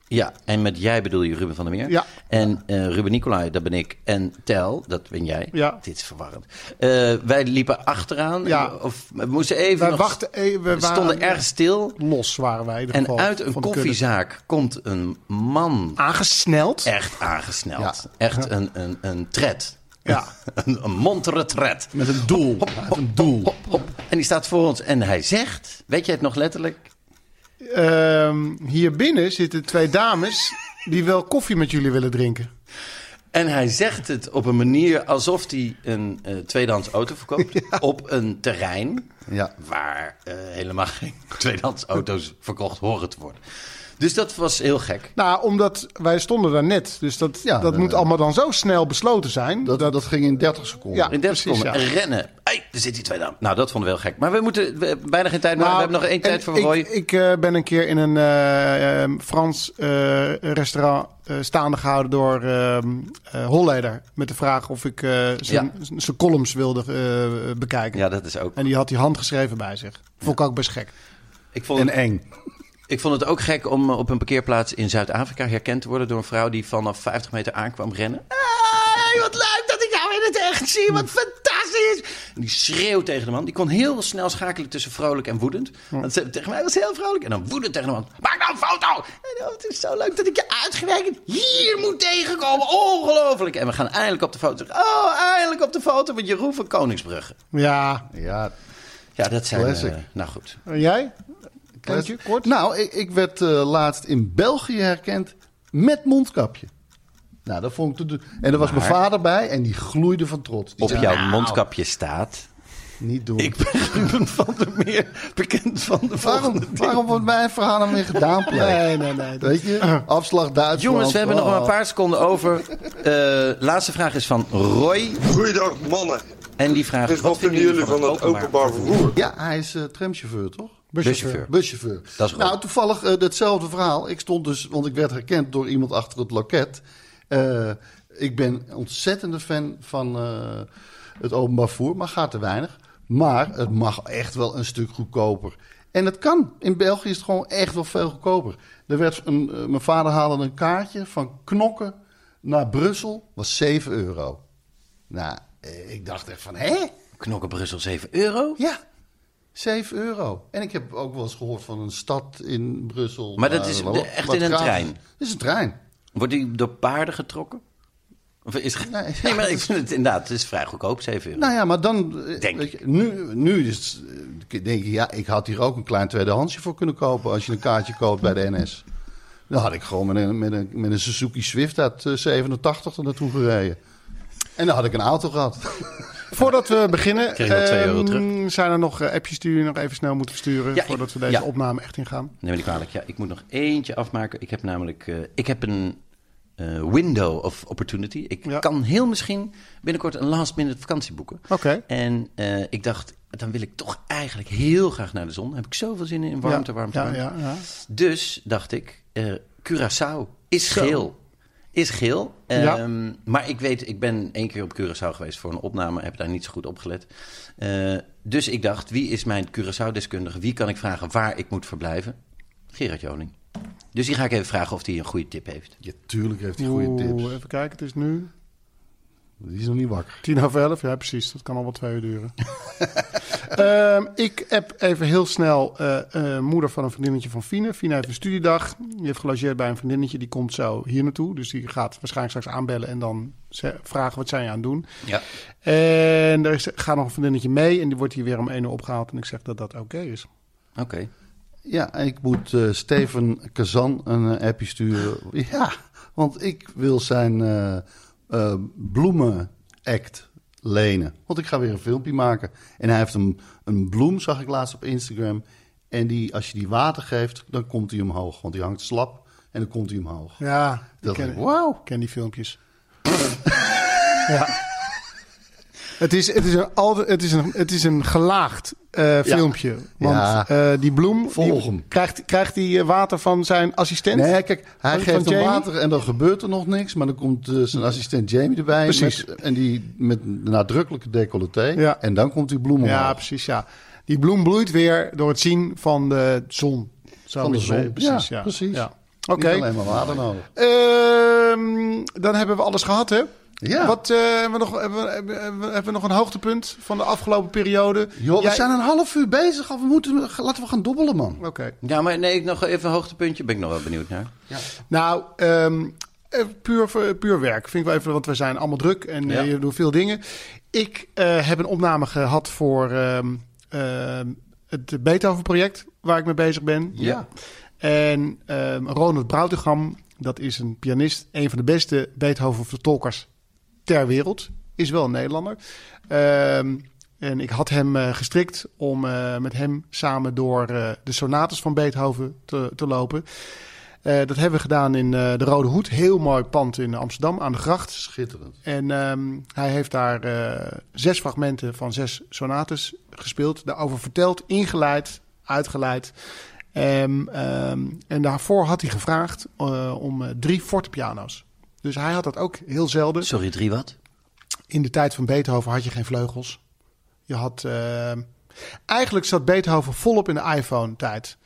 Ja, en met jij bedoel je Ruben van der Meer. Ja. En eh, Ruben Nicolai, dat ben ik. En Tel, dat ben jij. Ja. Dit is verwarrend. Eh, wij liepen achteraan. Ja. Of, we moesten even Wij nog- wachten even, we we stonden waren- erg stil. Los waren wij in ieder En geval. uit een van de kudde. koffiezaak komt een man. Aangesneld. Echt aangesneld. Echt een, een, een tred. Ja. een, een montere tred. Met een doel. Met een doel. En die staat voor ons en hij zegt... Weet jij het nog letterlijk? Ehm, hier binnen zitten twee dames die wel koffie met jullie willen drinken. En hij zegt het op een manier alsof hij een eh, tweedehands auto verkoopt. Op een terrein Ja. waar eh, helemaal geen tweedehands auto's verkocht horen te worden. Dus dat was heel gek. Nou, omdat wij stonden daar net. Dus dat, Ja, dat eh, moet allemaal dan zo snel besloten zijn. Dat, dat ging in 30 seconden. Ja. In 30 precies, seconden ja. rennen. Hey, er zit die tweedehands. Nou, dat vonden we heel gek. Maar we moeten we hebben bijna geen tijd meer. Nou, we hebben nog één en tijd voor ik- Roy. Ik, eh, ben een keer in een eh, eh, Frans eh, restaurant eh, staande gehouden door ehm eh, Holleder. Met de vraag of ik eh, zijn Ja. zijn columns wilde eh, bekijken. Ja, dat is ook. En die had die handgeschreven bij zich. Vond ik ook best gek. Ik vond, En het, eng. ik vond het ook gek om eh, op een parkeerplaats in Zuid-Afrika herkend te worden door een vrouw die vanaf 50 meter aankwam rennen. Hey, wat leuk dat ik jou in het echt zie. Wat fantastisch. En die schreeuwt tegen de man. Die kon heel snel schakelen tussen vrolijk en woedend. Want ze tegen mij was heel vrolijk. En dan woedend tegen de man. Maak nou een foto. En, oh, het is zo leuk dat ik je uitgerekend hier moet tegenkomen. Ongelooflijk. En we gaan eindelijk op de foto. Oh, eindelijk op de foto met Jeroen van Koningsbrugge. Ja. Ja, Ja, dat zijn... Classic. eh, nou goed. En jij? Kort. Kleintje, kort? Nou, ik, ik werd eh, laatst in België herkend met mondkapje. Nou, dat vond ik te doen. En er was mijn Maar- vader bij en die gloeide van trots. Die Op zei, jouw "Nou, mondkapje staat... Niet doen. Ik ben Ruben van der Meer, bekend van de waarom, volgende dingen. waarom wordt mijn verhaal dan weer gedaan? Nee, nee, nee. Dat- Weet je? Afslag Duitsland. Jongens, we hebben nog Oh. maar een paar seconden over. Eh, laatste vraag is van Roy. Goeiedag mannen. En die vraag Dus wat vinden jullie van het openbaar vervoer? Ja, hij is eh, tramchauffeur, toch? Buschauffeur. Buschauffeur. Dat is goed. nou, toevallig eh, hetzelfde verhaal. Ik stond dus, want ik werd herkend door iemand achter het loket. Eh, ik ben een ontzettende fan van eh, het openbaar vervoer, maar gaat te weinig. Maar het mag echt wel een stuk goedkoper. En het kan. In België is het gewoon echt wel veel goedkoper. Er werd een, eh, mijn vader haalde een kaartje van Knokken naar Brussel. was 7 euro. Nou, eh, ik dacht echt van, hè? Knokken Brussel 7 euro. Ja, 7 euro. En ik heb ook wel eens gehoord van een stad in Brussel. Maar dat waar- is waar- de- echt waar in een gratis- trein? Dat is een trein. Wordt die door paarden getrokken? Of is ge- Nee, nee, ja, maar dat ik is- vind het inderdaad, het is vrij goedkoop, 7 euro. Nou ja, maar dan... eh, Denk weet ik. je, Nu, nu is het, eh, denk ik, ja, ik had hier ook een klein tweedehandsje voor kunnen kopen... als je een kaartje koopt bij de NS. Dan had ik gewoon met een, met een, met een Suzuki Swift uit eh, 87 er naartoe gereden. En dan had ik een auto gehad. Voordat we beginnen, Kreeg je wel twee euro ehm, terug. zijn er nog eh, appjes die we nog even snel moeten versturen... Ja, ik- voordat we deze ja. opname echt ingaan? Neem me niet kwalijk. Ja, ik moet nog eentje afmaken. Ik heb namelijk eh, ik heb een eh, window of opportunity. Ik Ja. kan heel misschien binnenkort een last minute vakantie boeken. Oké. En eh, ik dacht, dan wil ik toch eigenlijk heel graag naar de zon. Daar heb ik zoveel zin in, in warmte, Ja, warmte, ja, warmte. ja, ja. Dus dacht ik, eh, Curaçao is geel. Is geel. Ja. Ehm, Maar ik weet, ik ben één keer op Curaçao geweest voor een opname. Heb daar niet zo goed op gelet. Eh, dus ik dacht, wie is mijn Curaçao-deskundige? Wie kan ik vragen waar ik moet verblijven? Gerard Joling. Dus die ga ik even vragen of hij een goede tip heeft. Ja, tuurlijk heeft hij goede Oeh, tips. even kijken, het is nu Die is nog niet wakker. Tien over elf, ja precies. Dat kan al wel twee uur duren. Ehm, ik heb even heel snel eh, eh, moeder van een vriendinnetje van Fine. Fine heeft een studiedag. Die heeft gelogeerd bij een vriendinnetje. Die komt zo hier naartoe. Dus die gaat waarschijnlijk straks aanbellen en dan ze- vragen wat zijn je aan het doen. Ja. En er is, gaat nog een vriendinnetje mee en die wordt hier weer om één uur opgehaald. En ik zeg dat dat oké is. Oké. Ja, ik moet eh, Steven Kazan een eh, appje sturen. Ja, want ik wil zijn eh eh, bloemenact lenen. Want ik ga weer een filmpje maken. En hij heeft een, een bloem, zag ik laatst op Instagram. En die, als je die water geeft, dan komt hij omhoog. Want die hangt slap en dan komt hij omhoog. Ja, ik Dat ken, ik, wauw. ik ken die filmpjes. Het is, het is, een, alde- het is, een, het is een gelaagd eh, filmpje. Want Ja. eh, die bloem Volg die, hem. krijgt, krijgt die eh, water van zijn assistent. Nee, kijk, hij Van- geeft van hem Jamie? water en dan gebeurt er nog niks. Maar dan komt eh, zijn assistent Jamie erbij. Precies. met- en die met een nadrukkelijke decolleté. En dan komt die bloem omhoog. Ja, precies. Ja. Die bloem bloeit weer door het zien van de zon. Zo Van de is het, zon. eh, Precies. Ja, Ja, precies. Ja. Niet Oké. alleen maar water nodig. Ehm, dan hebben we alles gehad, hè? Ja. Wat, eh, hebben, we nog, hebben, we- hebben, we- hebben we nog een hoogtepunt van de afgelopen periode? Joh, Jij- we zijn een half uur bezig. Of we moeten, laten we gaan dobbelen, man. Oké. Ja, maar nee, ik nog even een hoogtepuntje. Ben ik nog wel benieuwd naar. Nou, ehm, eh, puur, voor- puur werk. Vind ik wel even, want we zijn allemaal druk en Ja. eh, je doet veel dingen. Ik eh, heb een opname gehad voor ehm, ehm, het Beethoven-project waar ik mee bezig ben. Ja. En ehm, Ronald Brautigam, dat is een pianist, een van de beste Beethoven-vertolkers ter wereld. Is wel een Nederlander. Ehm, en ik had hem eh, gestrikt om eh, met hem samen door eh, de sonates van Beethoven te, te lopen. Eh, dat hebben we gedaan in eh, de Rode Hoed. Heel mooi pand in Amsterdam aan de gracht. Schitterend. En ehm, hij heeft daar eh, zes fragmenten van zes sonates gespeeld. Daarover verteld, ingeleid, uitgeleid. Ehm, ehm, en daarvoor had hij gevraagd eh, om eh, drie fortepiano's. Dus hij had dat ook heel zelden. Sorry, drie wat? In de tijd van Beethoven had je geen vleugels. Je had. ehm, eigenlijk zat Beethoven volop in de iPhone-tijd.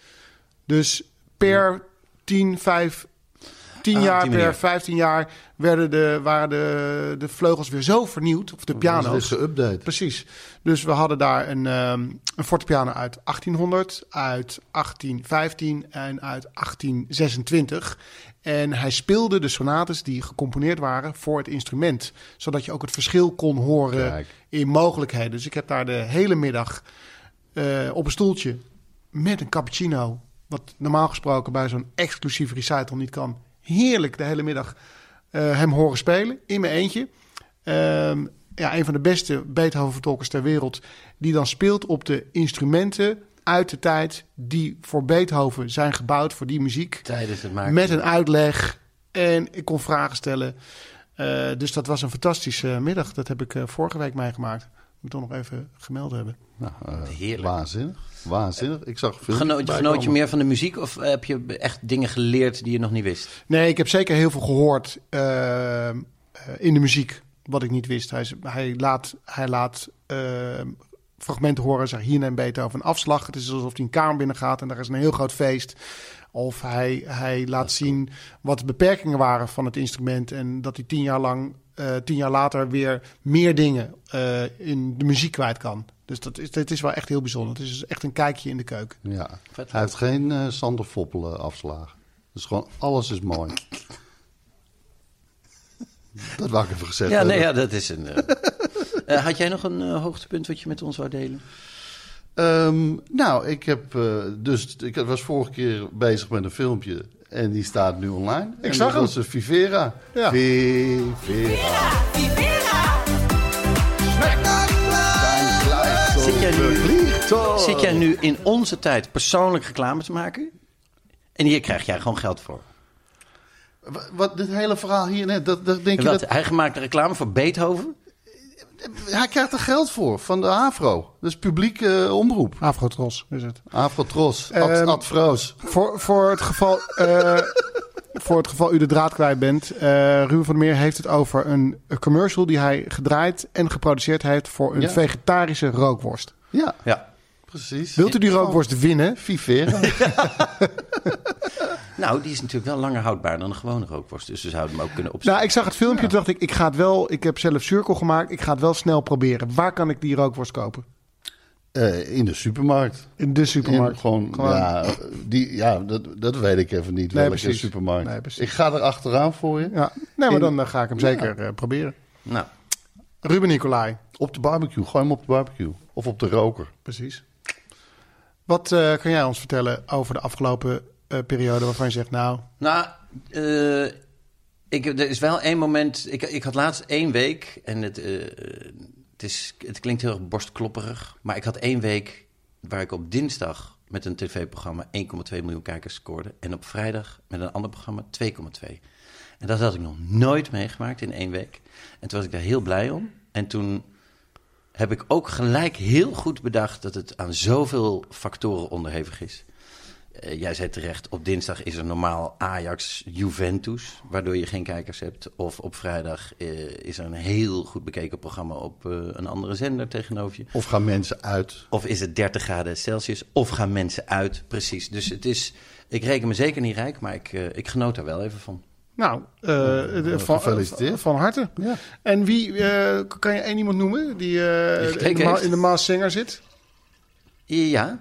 Dus per 10, 5, 10 Ah, op jaar, die manier. per 15 jaar werden de, waren de, de vleugels weer zo vernieuwd. Of de dus Ja, piano's. geüpdate. Precies. Dus we hadden daar een, ehm een fortepiano uit 1800, uit 1815 en uit 1826. En hij speelde de sonates die gecomponeerd waren voor het instrument. Zodat je ook het verschil kon horen Kijk. in mogelijkheden. Dus ik heb daar de hele middag eh, op een stoeltje met een cappuccino. Wat normaal gesproken bij zo'n exclusief recital niet kan. Heerlijk de hele middag eh, hem horen spelen in mijn eentje. Ehm, ja, een van de beste Beethoven-vertolkers ter wereld. Die dan speelt op de instrumenten uit de tijd die voor Beethoven zijn gebouwd, voor die muziek. Tijdens het maken. Met een uitleg. En ik kon vragen stellen. Eh, dus dat was een fantastische middag. Dat heb ik eh, vorige week meegemaakt. Moet ik toch nog even gemeld hebben. Nou, eh, Heerlijk. waanzinnig. Waanzinnig. Ik zag veel. Genoot, genoot je meer van de muziek of eh, heb je echt dingen geleerd die je nog niet wist? Nee, ik heb zeker heel veel gehoord eh, eh, in de muziek, wat ik niet wist. Hij, is- hij laat, hij laat eh, fragmenten horen, zeg hier neemt Beethoven een afslag. Het is alsof hij een kamer binnen gaat en daar is een heel groot feest. Of hij, hij laat zien wat de beperkingen waren van het instrument en dat hij tien jaar, lang, eh, tien jaar later weer meer dingen eh, in de muziek kwijt kan. Dus dat is, dat is wel echt heel bijzonder. Het is dus echt een kijkje in de keuken. Ja. Hij heeft geen eh Sander Foppel eh, afslagen. Dus gewoon alles is mooi. dat wou ik even gezegd Ja, nee, hebben. ja, dat is een. eh. Eh, had jij nog een eh, hoogtepunt wat je met ons wou delen? Ehm, nou, ik heb eh, dus ik was vorige keer bezig met een filmpje en die staat nu online. Ik En zag dat hem. was een Vivera. Ja. Vivera. Vivera. Zit jij nu, zit jij nu in onze tijd persoonlijk reclame te maken? En hier krijg jij gewoon geld voor. Wat, wat dit hele verhaal hier net, dat, dat denk En je wat, dat Hij maakt reclame voor Beethoven? hij krijgt er geld voor van de Afro. Dat is publieke eh, omroep. Afrotros is het. Afrotros, Ad, Ehm, Adfroos. Voor, voor, het geval, eh, voor het geval u de draad kwijt bent. eh Ruben van der Meer heeft het over een, een commercial die hij gedraaid en geproduceerd heeft voor een Ja. vegetarische rookworst. Ja, Ja. precies. Wilt u die rookworst winnen? Oh. Vivera. Nou, die is natuurlijk wel langer houdbaar dan een gewone rookworst. Dus we zouden hem ook kunnen opzetten. Nou, ik zag het filmpje en dacht ik, ik ga het wel. Ik heb zelf cirkel gemaakt. Ik ga het wel snel proberen. Waar kan ik die rookworst kopen? Eh, in de supermarkt. In de supermarkt. In gewoon, Ja, die, ja dat, dat weet ik even niet. Nee, welke precies. supermarkt. Nee, precies. Ik ga er achteraan voor je. Ja. Nee, maar In- dan eh, ga ik hem zeker eh, proberen. Nou, Ruben Nicolai, Op de barbecue. Gooi hem op de barbecue. Of op de roker. precies. Wat eh, kan jij ons vertellen over de afgelopen eh, periode waarvan je zegt, nou, Nou, eh, ik, er is wel één moment. Ik, ik had laatst één week. En het, eh, het, is, het klinkt heel erg borstklopperig. Maar ik had één week waar ik op dinsdag met een tv-programma 1,2 miljoen kijkers scoorde. En op vrijdag met een ander programma 2,2. En dat had ik nog nooit meegemaakt in één week. En toen was ik daar heel blij om. En toen heb ik ook gelijk heel goed bedacht dat het aan zoveel factoren onderhevig is. Eh, jij zei terecht, op dinsdag is er normaal Ajax-Juventus, waardoor je geen kijkers hebt. Of op vrijdag eh, is er een heel goed bekeken programma op eh, een andere zender tegenover je. Of gaan mensen uit. Of is het 30 graden Celsius, of gaan mensen uit, precies. Dus het is, ik reken me zeker niet rijk, maar ik, eh, ik genoot daar wel even van. Nou, eh, de- van, gefeliciteerd. van harte. En wie, eh, kan je één iemand noemen die eh, Die gekeken in, de ma- heeft? in de Maas Singer zit? Ja?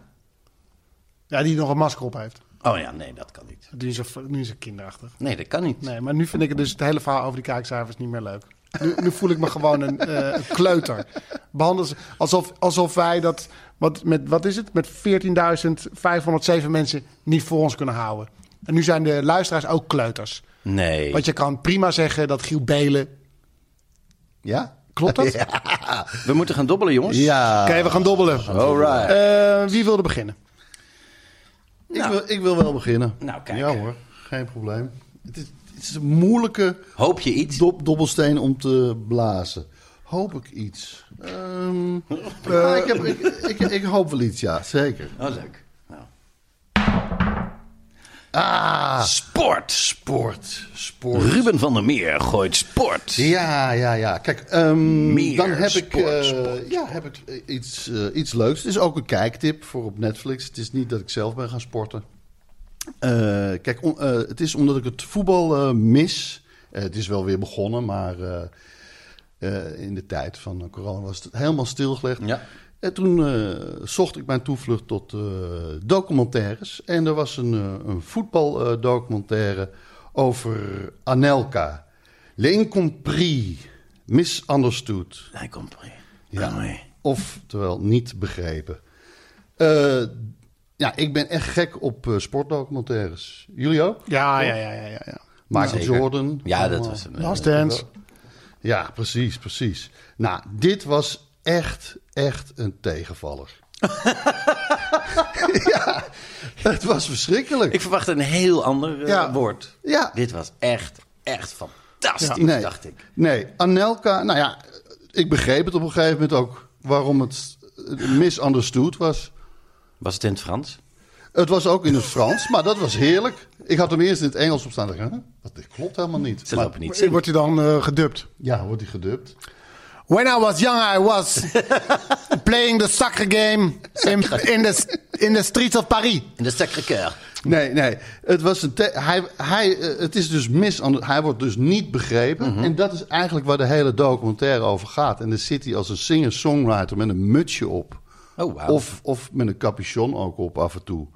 Ja, die nog een masker op heeft. Oh ja, nee, dat kan niet. Nu is ze, nu is ze kinderachtig. Nee, dat kan niet. Nee, maar nu vind ik het dus het hele verhaal over die kijkcijfers niet meer leuk. Nu, nu voel ik me gewoon een, eh, een kleuter. Behandel ze alsof, alsof wij dat, wat, met, wat is het, met 14.507 mensen niet voor ons kunnen houden. En nu zijn de luisteraars ook kleuters. Nee. Want je kan prima zeggen dat Giel Belen... Ja? Klopt dat? We moeten gaan dobbelen, jongens. Ja. Oké, we gaan dobbelen. All right. Eh, wie wilde beginnen? Ik, wil, ik wil wel beginnen. Nou, kijk. Ja hoor, geen probleem. Het is, het is een moeilijke Hoop je iets? dob- dobbelsteen om te blazen. Hoop ik iets? Ehm, ah, ik, heb, ik, ik, ik hoop wel iets, ja, zeker. Oh, leuk. Nou. Ah, Sport. sport, sport. Ruben van der Meer gooit sport. Ja, ja, ja. Kijk, ehm, Meer dan heb ik, sport, eh, sport, ja, heb ik eh, iets, eh, iets leuks. Het is ook een kijktip voor op Netflix. Het is niet dat ik zelf ben gaan sporten. Eh, kijk, om- eh, het is omdat ik het voetbal eh, mis. Eh, het is wel weer begonnen, maar eh, eh, in de tijd van eh, corona was het helemaal stilgelegd. Ja. En toen eh, zocht ik mijn toevlucht tot eh, documentaires. En er was een, eh, een voetbaldocumentaire over Anelka. L'incompris, misunderstood. Hij komt erin. Ja. Kom mee. Oftewel niet begrepen. Eh, ja, ik ben echt gek op eh, sportdocumentaires. Jullie ook? Ja, ja, ja, ja, ja. ja. Michael Zeker. Jordan. Ja, dat Allemaal. was hem. Last Dance. eh, Ja, precies, precies. Nou, dit was echt, echt een tegenvaller. ja, het was verschrikkelijk. Ik verwacht een heel ander eh, Ja. woord. Ja. Dit was echt, echt fantastisch, nee, dacht ik. Nee, Anelka, nou ja, ik begreep het op een gegeven moment ook waarom het eh, misunderstood was. Was het in het Frans? Het was ook in het Frans, maar dat was heerlijk. Ik had hem eerst in het Engels op staan. Dacht, ik, huh? Dat dit klopt helemaal niet. Ze Maar- lopen niet. Wordt hij dan eh, gedubt? Ja, wordt hij gedubt. When I was young, I was playing the soccer game in, in, the, in the streets of Paris. In de Sacré-Cœur. Nee, nee. Het, was een te- hij, hij, eh, het is dus mis. Hij wordt dus niet begrepen. Mhm. En dat is eigenlijk waar de hele documentaire over gaat. En dan zit hij als een singer-songwriter met een mutsje op. Oh, wauw. Of, of met een capuchon ook op af en toe.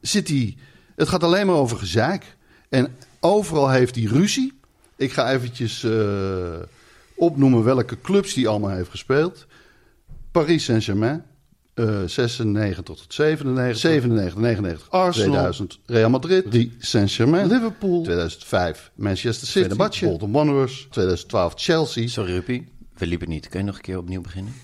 Zit hij... Het gaat alleen maar over gezeik. En overal heeft hij ruzie. Ik ga eventjes eh, opnoemen welke clubs hij allemaal heeft gespeeld. Paris Saint-Germain. eh 96 tot 97. 97, 99. Arsenal. 2000 Real Madrid. 3 Saint-Germain. Liverpool. 2005 Manchester City. Bolton Wanderers. 2012 Chelsea. Sorry, Rupi. We liepen niet. Kun je nog een keer opnieuw beginnen?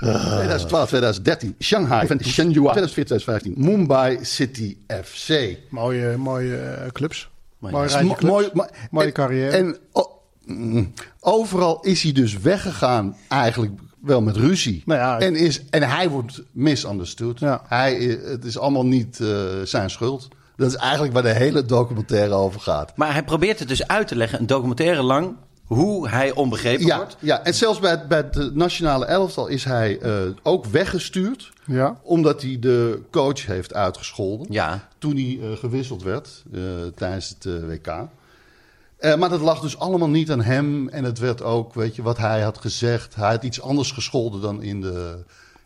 2012, 2013 Shanghai. Shenzhen. 2014, 2015 Mumbai City FC. Mooie, mooie eh, clubs. Mooi. Mooi, Is rijtje Mo- clubs. mooi- mo- Mooie en- carrière. En o- mm, overal is hij dus weggegaan, eigenlijk wel met ruzie. Nou ja, en, is, en hij wordt misunderstood. Ja. Hij, i- het is allemaal niet eh, zijn schuld. Dat is eigenlijk waar de hele documentaire over gaat. Maar hij probeert het dus uit te leggen, een documentaire lang, hoe hij onbegrepen Ja, wordt. ja, en zelfs bij, het- bij het eh, nationale elftal is hij eh, ook weggestuurd. Ja. Omdat hij de coach heeft uitgescholden. Ja. Toen hij eh, gewisseld werd eh, tijdens het eh, WK. Eh, maar dat lag dus allemaal niet aan hem. En het werd ook, weet je, wat hij had gezegd. Hij had iets anders gescholden dan in de,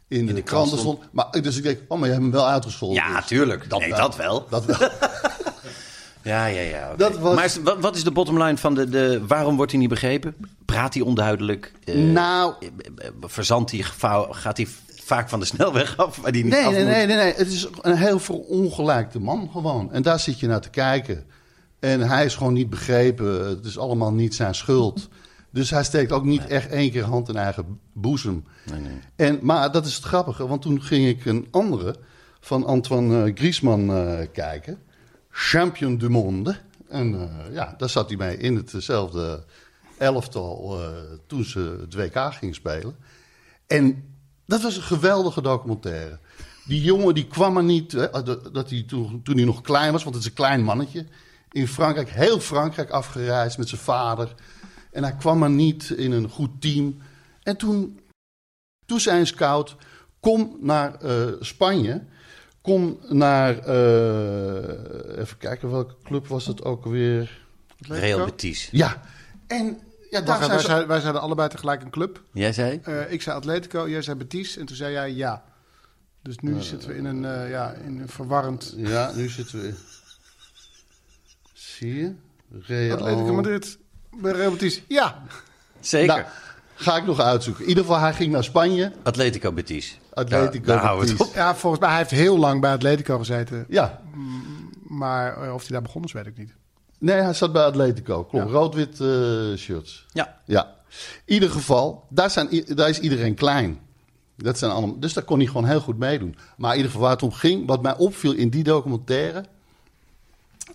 in de, de krant kranten stond. Maar, dus ik denk, oh, maar je hebt hem wel uitgescholden. Ja, dus. tuurlijk. Dat nee, wel. dat wel. Eh, Dat wel. Ja, ja, ja. oké. Dat was- Maar is- wat, wat is de bottomline van de, de... Waarom wordt hij niet begrepen? Praat hij onduidelijk? Eh, Nou- eh, eh, Verzandt hij... gevouw- Gaat hij vaak van de snelweg af? Waar die niet Nee, af nee, moet? nee, nee, nee. Het is een heel verongelijkte man gewoon. En daar zit je naar te kijken. En hij is gewoon niet begrepen. Het is allemaal niet zijn schuld. Dus hij steekt ook niet echt één keer hand in eigen boezem. En, maar dat is het grappige, want toen ging ik een andere van Antoine eh, Griezmann eh, kijken. champion du monde. En eh, ja, daar zat hij mee in hetzelfde elftal eh, toen ze het WK ging spelen. En dat was een geweldige documentaire. Die jongen die kwam er niet, hè, dat- dat hij toen, toen hij nog klein was, want het is een klein mannetje. In Frankrijk, heel Frankrijk afgereisd met zijn vader. En hij kwam er niet in een goed team. En toen, toen zei een scout, kom naar eh, Spanje. Kom naar, eh, even kijken welke club was het ook weer? Real Betis. Ja, en ja, daar Wacht, zijn wij, ze- zeiden, wij zeiden allebei tegelijk een club. Jij zei? Nou, Eh, ik zei Atletico, jij zei Betis en toen zei jij ja. Dus nu Eh, zitten we in een, eh, ja, in een verwarrend... Ja, nu zitten we. Zie je? Real Atletico Madrid, bij Real Betis. Ja, Zeker. Nou, ga ik nog uitzoeken. In ieder geval, hij ging naar Spanje. Atletico Betis. Atletico Daar, daar houden we het Betis. op. Ja, volgens mij hij heeft heel lang bij Atletico gezeten. Ja. Maar eh, of hij daar begonnen is, weet ik niet. Nee, hij zat bij Atletico. Klopt. Rood-wit eh, shirts. Ja. Ja. In ieder geval, daar, zijn, i- daar is iedereen klein. Dat zijn allemaal, dus daar kon hij gewoon heel goed meedoen. Maar in ieder geval waar het om ging, wat mij opviel in die documentaire...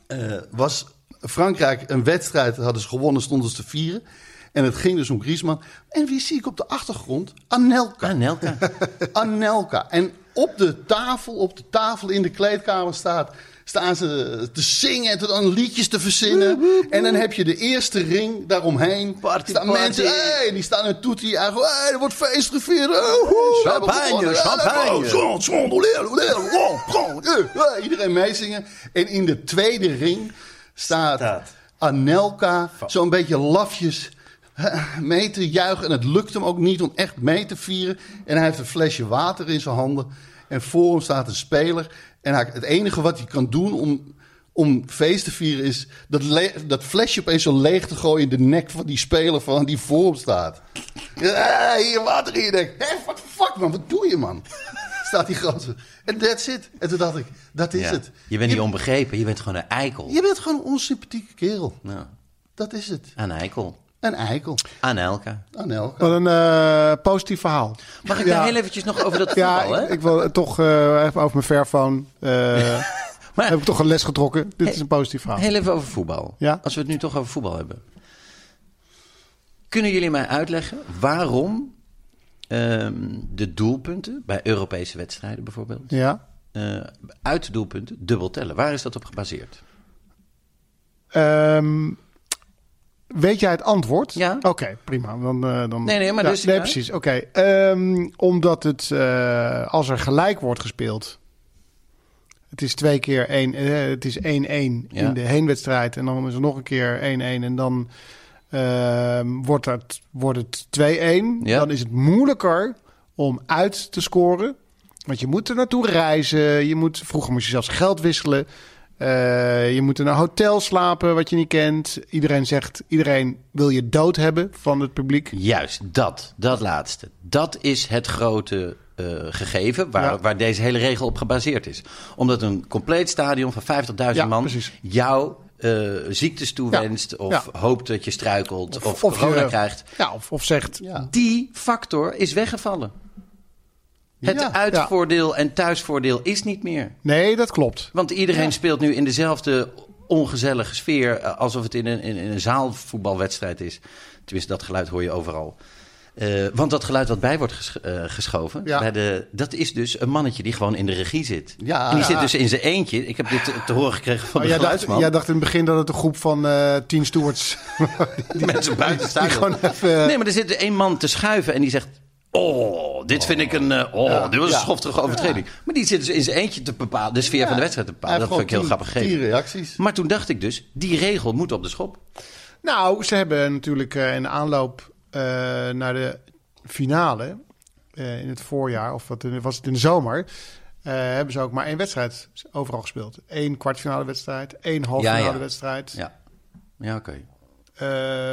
eh, was Frankrijk een wedstrijd, hadden ze gewonnen, stonden ze te vieren. En het ging dus om Griezmann. En wie zie ik op de achtergrond? Anelka. Anelka. Anelka. En op de tafel, op de tafel in de kleedkamer staat, staan ze te zingen en te- dan liedjes te verzinnen. En dan heb je de eerste ring daaromheen. staan party. mensen, hey, die staan een toetie aan. Hey, er wordt feest gevierd. Oh, woe, we hebben Champagne, gewonnen. champagne. Oh, zon, zon, olé, olé, oh, oh, eh, eh, Iedereen meezingen. En in de tweede ring staat, Anelka zo'n beetje lafjes eh, mee te juichen. En het lukt hem ook niet om echt mee te vieren. En hij heeft een flesje water in zijn handen. En voor hem staat een speler. En hij, het enige wat hij kan doen om, om feest te vieren is dat, le- dat flesje opeens zo leeg te gooien in de nek van die speler van die voor hem staat. Ja, hier water in je nek. Hé, what the fuck man, wat doe je man? Staat die gozer. En that's it. En toen dacht ik, dat is Ja. het. Je bent niet onbegrepen, je bent gewoon een eikel. Je bent gewoon een onsympathieke kerel. Nou, Dat is het. een eikel. Een eikel. Aan Elka. Anel. Wat een eh, positief verhaal. Mag ik Ja. daar heel eventjes nog over dat Ja, voetbal, hè? ik, ik wil het toch eh, even over mijn Fairphone. eh, Maar- heb ik toch een les getrokken. Dit Hey, is een positief verhaal. Heel even over voetbal. Ja. Als we het nu toch over voetbal hebben. Kunnen jullie mij uitleggen waarom ehm, de doelpunten, bij Europese wedstrijden bijvoorbeeld, Ja. eh, uit de doelpunten dubbel tellen? Waar is dat op gebaseerd? Ehm, weet jij het antwoord? Ja. Oké, prima. Dan, eh, dan... Nee, nee, maar Ja, dus- Nee, ja. precies. Oké. Ehm, omdat het, eh, als er gelijk wordt gespeeld... Het is twee keer 1, het is 1-1 Ja. in de heenwedstrijd. En dan is er nog een keer 1-1. En dan ehm, wordt, het, wordt het 2-1. Ja. Dan is het moeilijker om uit te scoren. Want je moet er naartoe reizen. Je moet, vroeger moest je zelfs geld wisselen. Eh, je moet in een hotel slapen wat je niet kent. Iedereen zegt, iedereen wil je dood hebben van het publiek. Juist, dat. Dat laatste. Dat is het grote eh, gegeven waar, Ja. waar deze hele regel op gebaseerd is. Omdat een compleet stadion van 50.000 Ja, man precies. jou eh, ziektes toewenst... of ja. hoopt dat je struikelt of, of je- corona krijgt. Ja, of, of zegt, Die factor is weggevallen. Het Ja. uitvoordeel en thuisvoordeel is niet meer. nee, dat klopt. Want iedereen speelt nu in dezelfde ongezellige sfeer. eh, alsof het in een, in, in een zaalvoetbalwedstrijd is. Tenminste, dat geluid hoor je overal. Eh, want dat geluid wat bij wordt ges- eh, geschoven, Ja. bij de, dat is dus een mannetje die gewoon in de regie zit. Ja. en die Ja. zit dus in zijn eentje. Ik heb dit te, te horen gekregen van Oh, de jij, dacht, geluidsman. jij dacht in het begin dat het een groep van eh tien stewards... Mensen buiten het die stadion. gewoon eh, even... Nee, maar er zit één man te schuiven en die zegt... Oh, dit vind ik een... eh, Oh, dit was een schoftige overtreding. Maar die zit dus in zijn eentje te bepalen, de sfeer van de wedstrijd te bepalen. Hij Dat heeft vond ik heel gewoon grappig tien- gegeven. tien reacties. Maar toen dacht ik dus, die regel moet op de schop. Nou, ze hebben natuurlijk eh, in de aanloop eh, naar de finale eh, in het voorjaar, of wat, was het in de zomer, eh, hebben ze ook maar één wedstrijd overal gespeeld. Eén kwartfinale wedstrijd, één halffinale Ja, ja. wedstrijd. Ja, ja oké. Eh,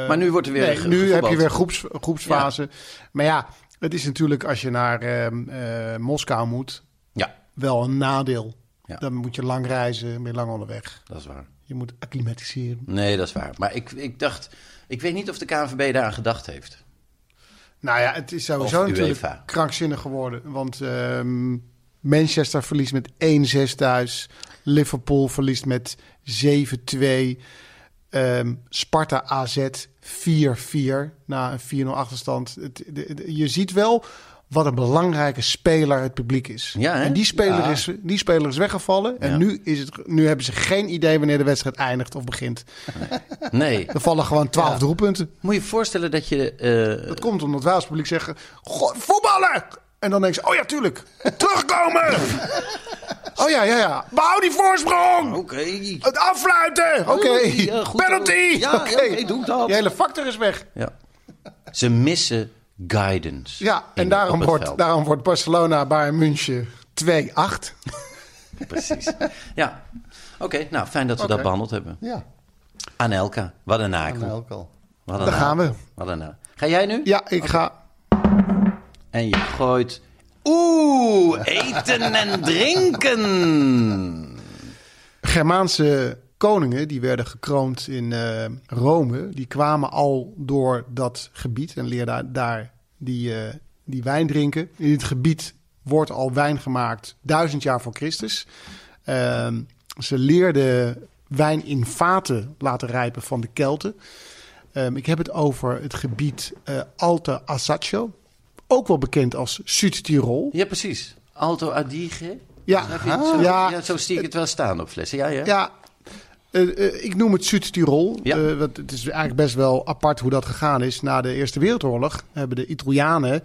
Maar nu wordt er weer nee, ge- nu heb gevoetbald. je weer groeps, groepsfase. Maar ja, het is natuurlijk als je naar ehm, eh, Moskou moet, Ja, wel een nadeel. Ja. Dan moet je lang reizen, ben je lang onderweg. dat is waar. Je moet acclimatiseren. Nee, dat is waar. Maar ik, ik dacht... Ik weet niet of de KNVB daar aan gedacht heeft. Nou ja, het is Of sowieso natuurlijk UEFA. krankzinnig geworden. Want ehm, Manchester verliest met 1-6 thuis. Liverpool verliest met 7-2. Ehm, Sparta AZ 4-4 na een 4-0 achterstand. Het, de- de- je ziet wel wat een belangrijke speler het publiek is. Ja, hè? en die speler, Ja. is, die speler is weggevallen. En Ja. nu, is het, nu hebben ze geen idee wanneer de wedstrijd eindigt of begint. Nee. Er vallen gewoon 12 Ja. doelpunten. Moet je je voorstellen dat je... eh, Dat komt omdat wij als publiek zeggen: "Goh, voetballen! En dan denk ze: oh ja, tuurlijk, terugkomen! oh ja, ja, ja. Behoud die voorsprong! Oké. Het affluiten! Oké. Ja, Oh, goed. Penalty! Ja, Oké. ja, oké, doe dat. Die hele factor is weg. Ja. Ze missen guidance. Ja, en in- op daarom het wordt, veld. daarom wordt Barcelona Bayern München 2-8. Precies. Ja. Oké, nou fijn dat we dat Oké. behandeld hebben. Ja. Anelka, wat een nakel. Elkal. Wat een Daar gaan nakel. we. Wat een nakel. Ga jij nu? Ja, ik ga. En je gooit... Oeh, eten en drinken. Germaanse koningen die werden gekroond in eh, Rome, die kwamen al door dat gebied en leerden daar die, eh, die wijn drinken. In dit gebied wordt al wijn gemaakt duizend jaar voor Christus. Ehm, ze leerden wijn in vaten laten rijpen van de Kelten. Ehm, ik heb het over het gebied eh Alte Asaccio, ook wel bekend als Zuid-Tirol. Ja, precies. Alto Adige. Ja. Snap je? Zo, ja. Ja. zo zie ik het wel staan op flessen. Ja, ja. Ja, eh, eh, ik noem het Zuid-Tirol. Ja. Eh, want het is eigenlijk best wel apart hoe dat gegaan is. Na de Eerste Wereldoorlog hebben de Italianen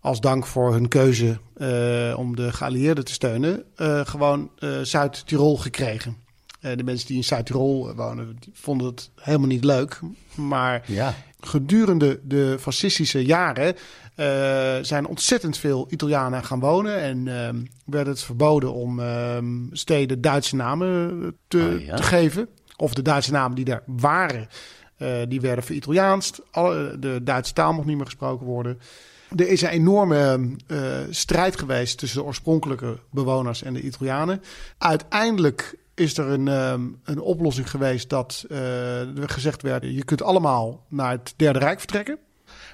als dank voor hun keuze eh, om de geallieerden te steunen, eh, gewoon eh, Zuid-Tirol gekregen. Eh, de mensen die in Zuid-Tirol wonen, die vonden het helemaal niet leuk. Maar Ja. gedurende de fascistische jaren eh, zijn ontzettend veel Italianen gaan wonen. En ehm, werd het verboden om ehm, steden Duitse namen eh, te, Oh ja. te geven. Of de Duitse namen die daar waren, eh, die werden veritaliaanst. Alle- De Duitse taal mocht niet meer gesproken worden. Er is een enorme eh, strijd geweest tussen de oorspronkelijke bewoners en de Italianen. Uiteindelijk is er een, ehm, een oplossing geweest dat eh, er gezegd werd: je kunt allemaal naar het Derde Rijk vertrekken.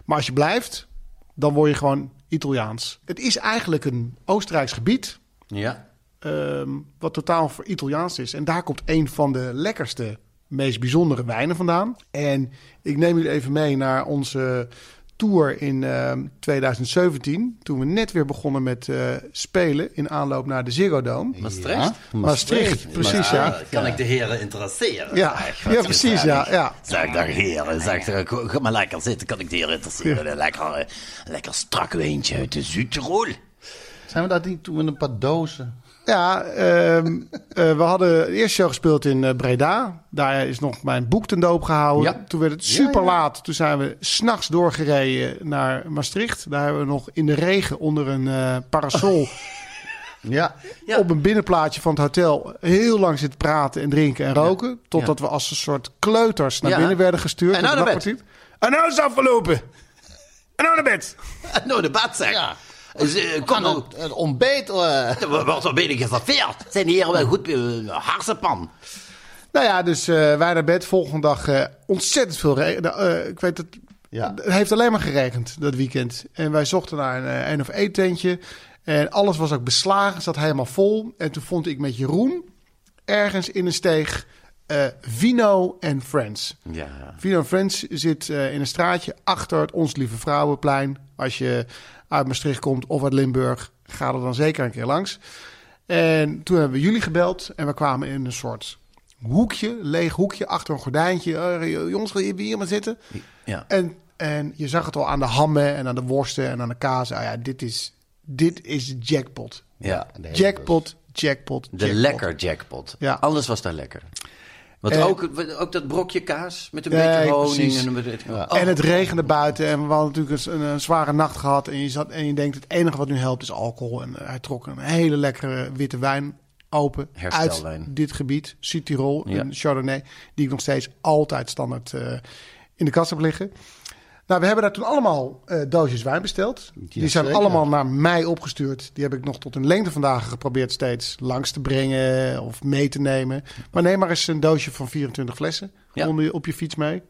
Maar als je blijft, dan word je gewoon Italiaans. Het is eigenlijk een Oostenrijks gebied. Ja. ehm, wat totaal voor Italiaans is. En daar komt een van de lekkerste, meest bijzondere wijnen vandaan. En ik neem jullie even mee naar onze tour in ehm, 2017. Toen we net weer begonnen met eh, spelen in aanloop naar de Ziggo Dome. Maastricht? Maastricht, precies Maar, ja. eh, Kan ik de heren interesseren? Ja, Zeg, ja, wat precies, gezellig. ja, ja. Zeg daar heren, zeg daar, kom kom maar lekker zitten, kan ik de heren interesseren? Een Lekker, eh, lekker strak wijntje uit de Zuid-Tirol. Zijn we daar niet toen met een paar dozen? Ja, ehm, eh, we hadden de eerste show gespeeld in eh, Breda. Daar is nog mijn boek ten doop gehouden. Ja. Toen werd het super laat. Toen zijn we s'nachts doorgereden naar Maastricht. Daar hebben we nog in de regen onder een eh, parasol Ja. Ja. op een binnenplaatje van het hotel heel lang zitten praten en drinken en roken. Totdat we als een soort kleuters naar Ja. binnen werden gestuurd. En nou Met naar een nachtpartiet. En nou is het afgelopen. En nou naar bed. Nou, de bad zeg. Ja. Dus, eh, kom nou, Het, het ontbeet. eh, er wordt al binnen geserveerd. Zijn de heren wel goed uh, harsenpan? Nou ja, dus eh, wij naar bed. Volgende dag eh, ontzettend veel regen. ik weet het, Ja. het heeft alleen maar geregend dat weekend. En wij zochten naar een eh, een of één tentje. En alles was ook beslagen, zat helemaal vol. En toen vond ik met Jeroen ergens in een steeg eh, Vino and Friends. Ja. Vino and Friends zit eh, in een straatje achter het Ons Lieve Vrouwenplein. Als je uit Maastricht komt of uit Limburg, ga er dan zeker een keer langs. En toen hebben we jullie gebeld en we kwamen in een soort hoekje, leeg hoekje, achter een gordijntje. Eh, jongens, wil je hier maar zitten? Ja. En, en je zag het al aan de hammen en aan de worsten en aan de kaas. Ah ja, dit is, dit is jackpot. ja. nee, Jackpot, jackpot, De jackpot. lekker jackpot. Ja. Alles was daar lekker. Want Eh, ook, ook dat brokje kaas met een Nee, beetje honing. precies. En, een beetje- Oh, En het regende buiten en we hadden natuurlijk een, een zware nacht gehad. En je, zat, en je denkt, het enige wat nu helpt is alcohol. En eh, hij trok een hele lekkere witte wijn open uit Herstelwijn. dit gebied. Zuid-Tirol, Ja. een Chardonnay, die ik nog steeds altijd standaard eh, in de kast heb liggen. Nou, we hebben daar toen allemaal eh, doosjes wijn besteld. die zijn zeker. allemaal naar mij opgestuurd. Die heb ik nog tot een lengte vandaag geprobeerd steeds langs te brengen of mee te nemen. Maar neem maar eens een doosje van 24 flessen Ja. onder je, op je fiets mee.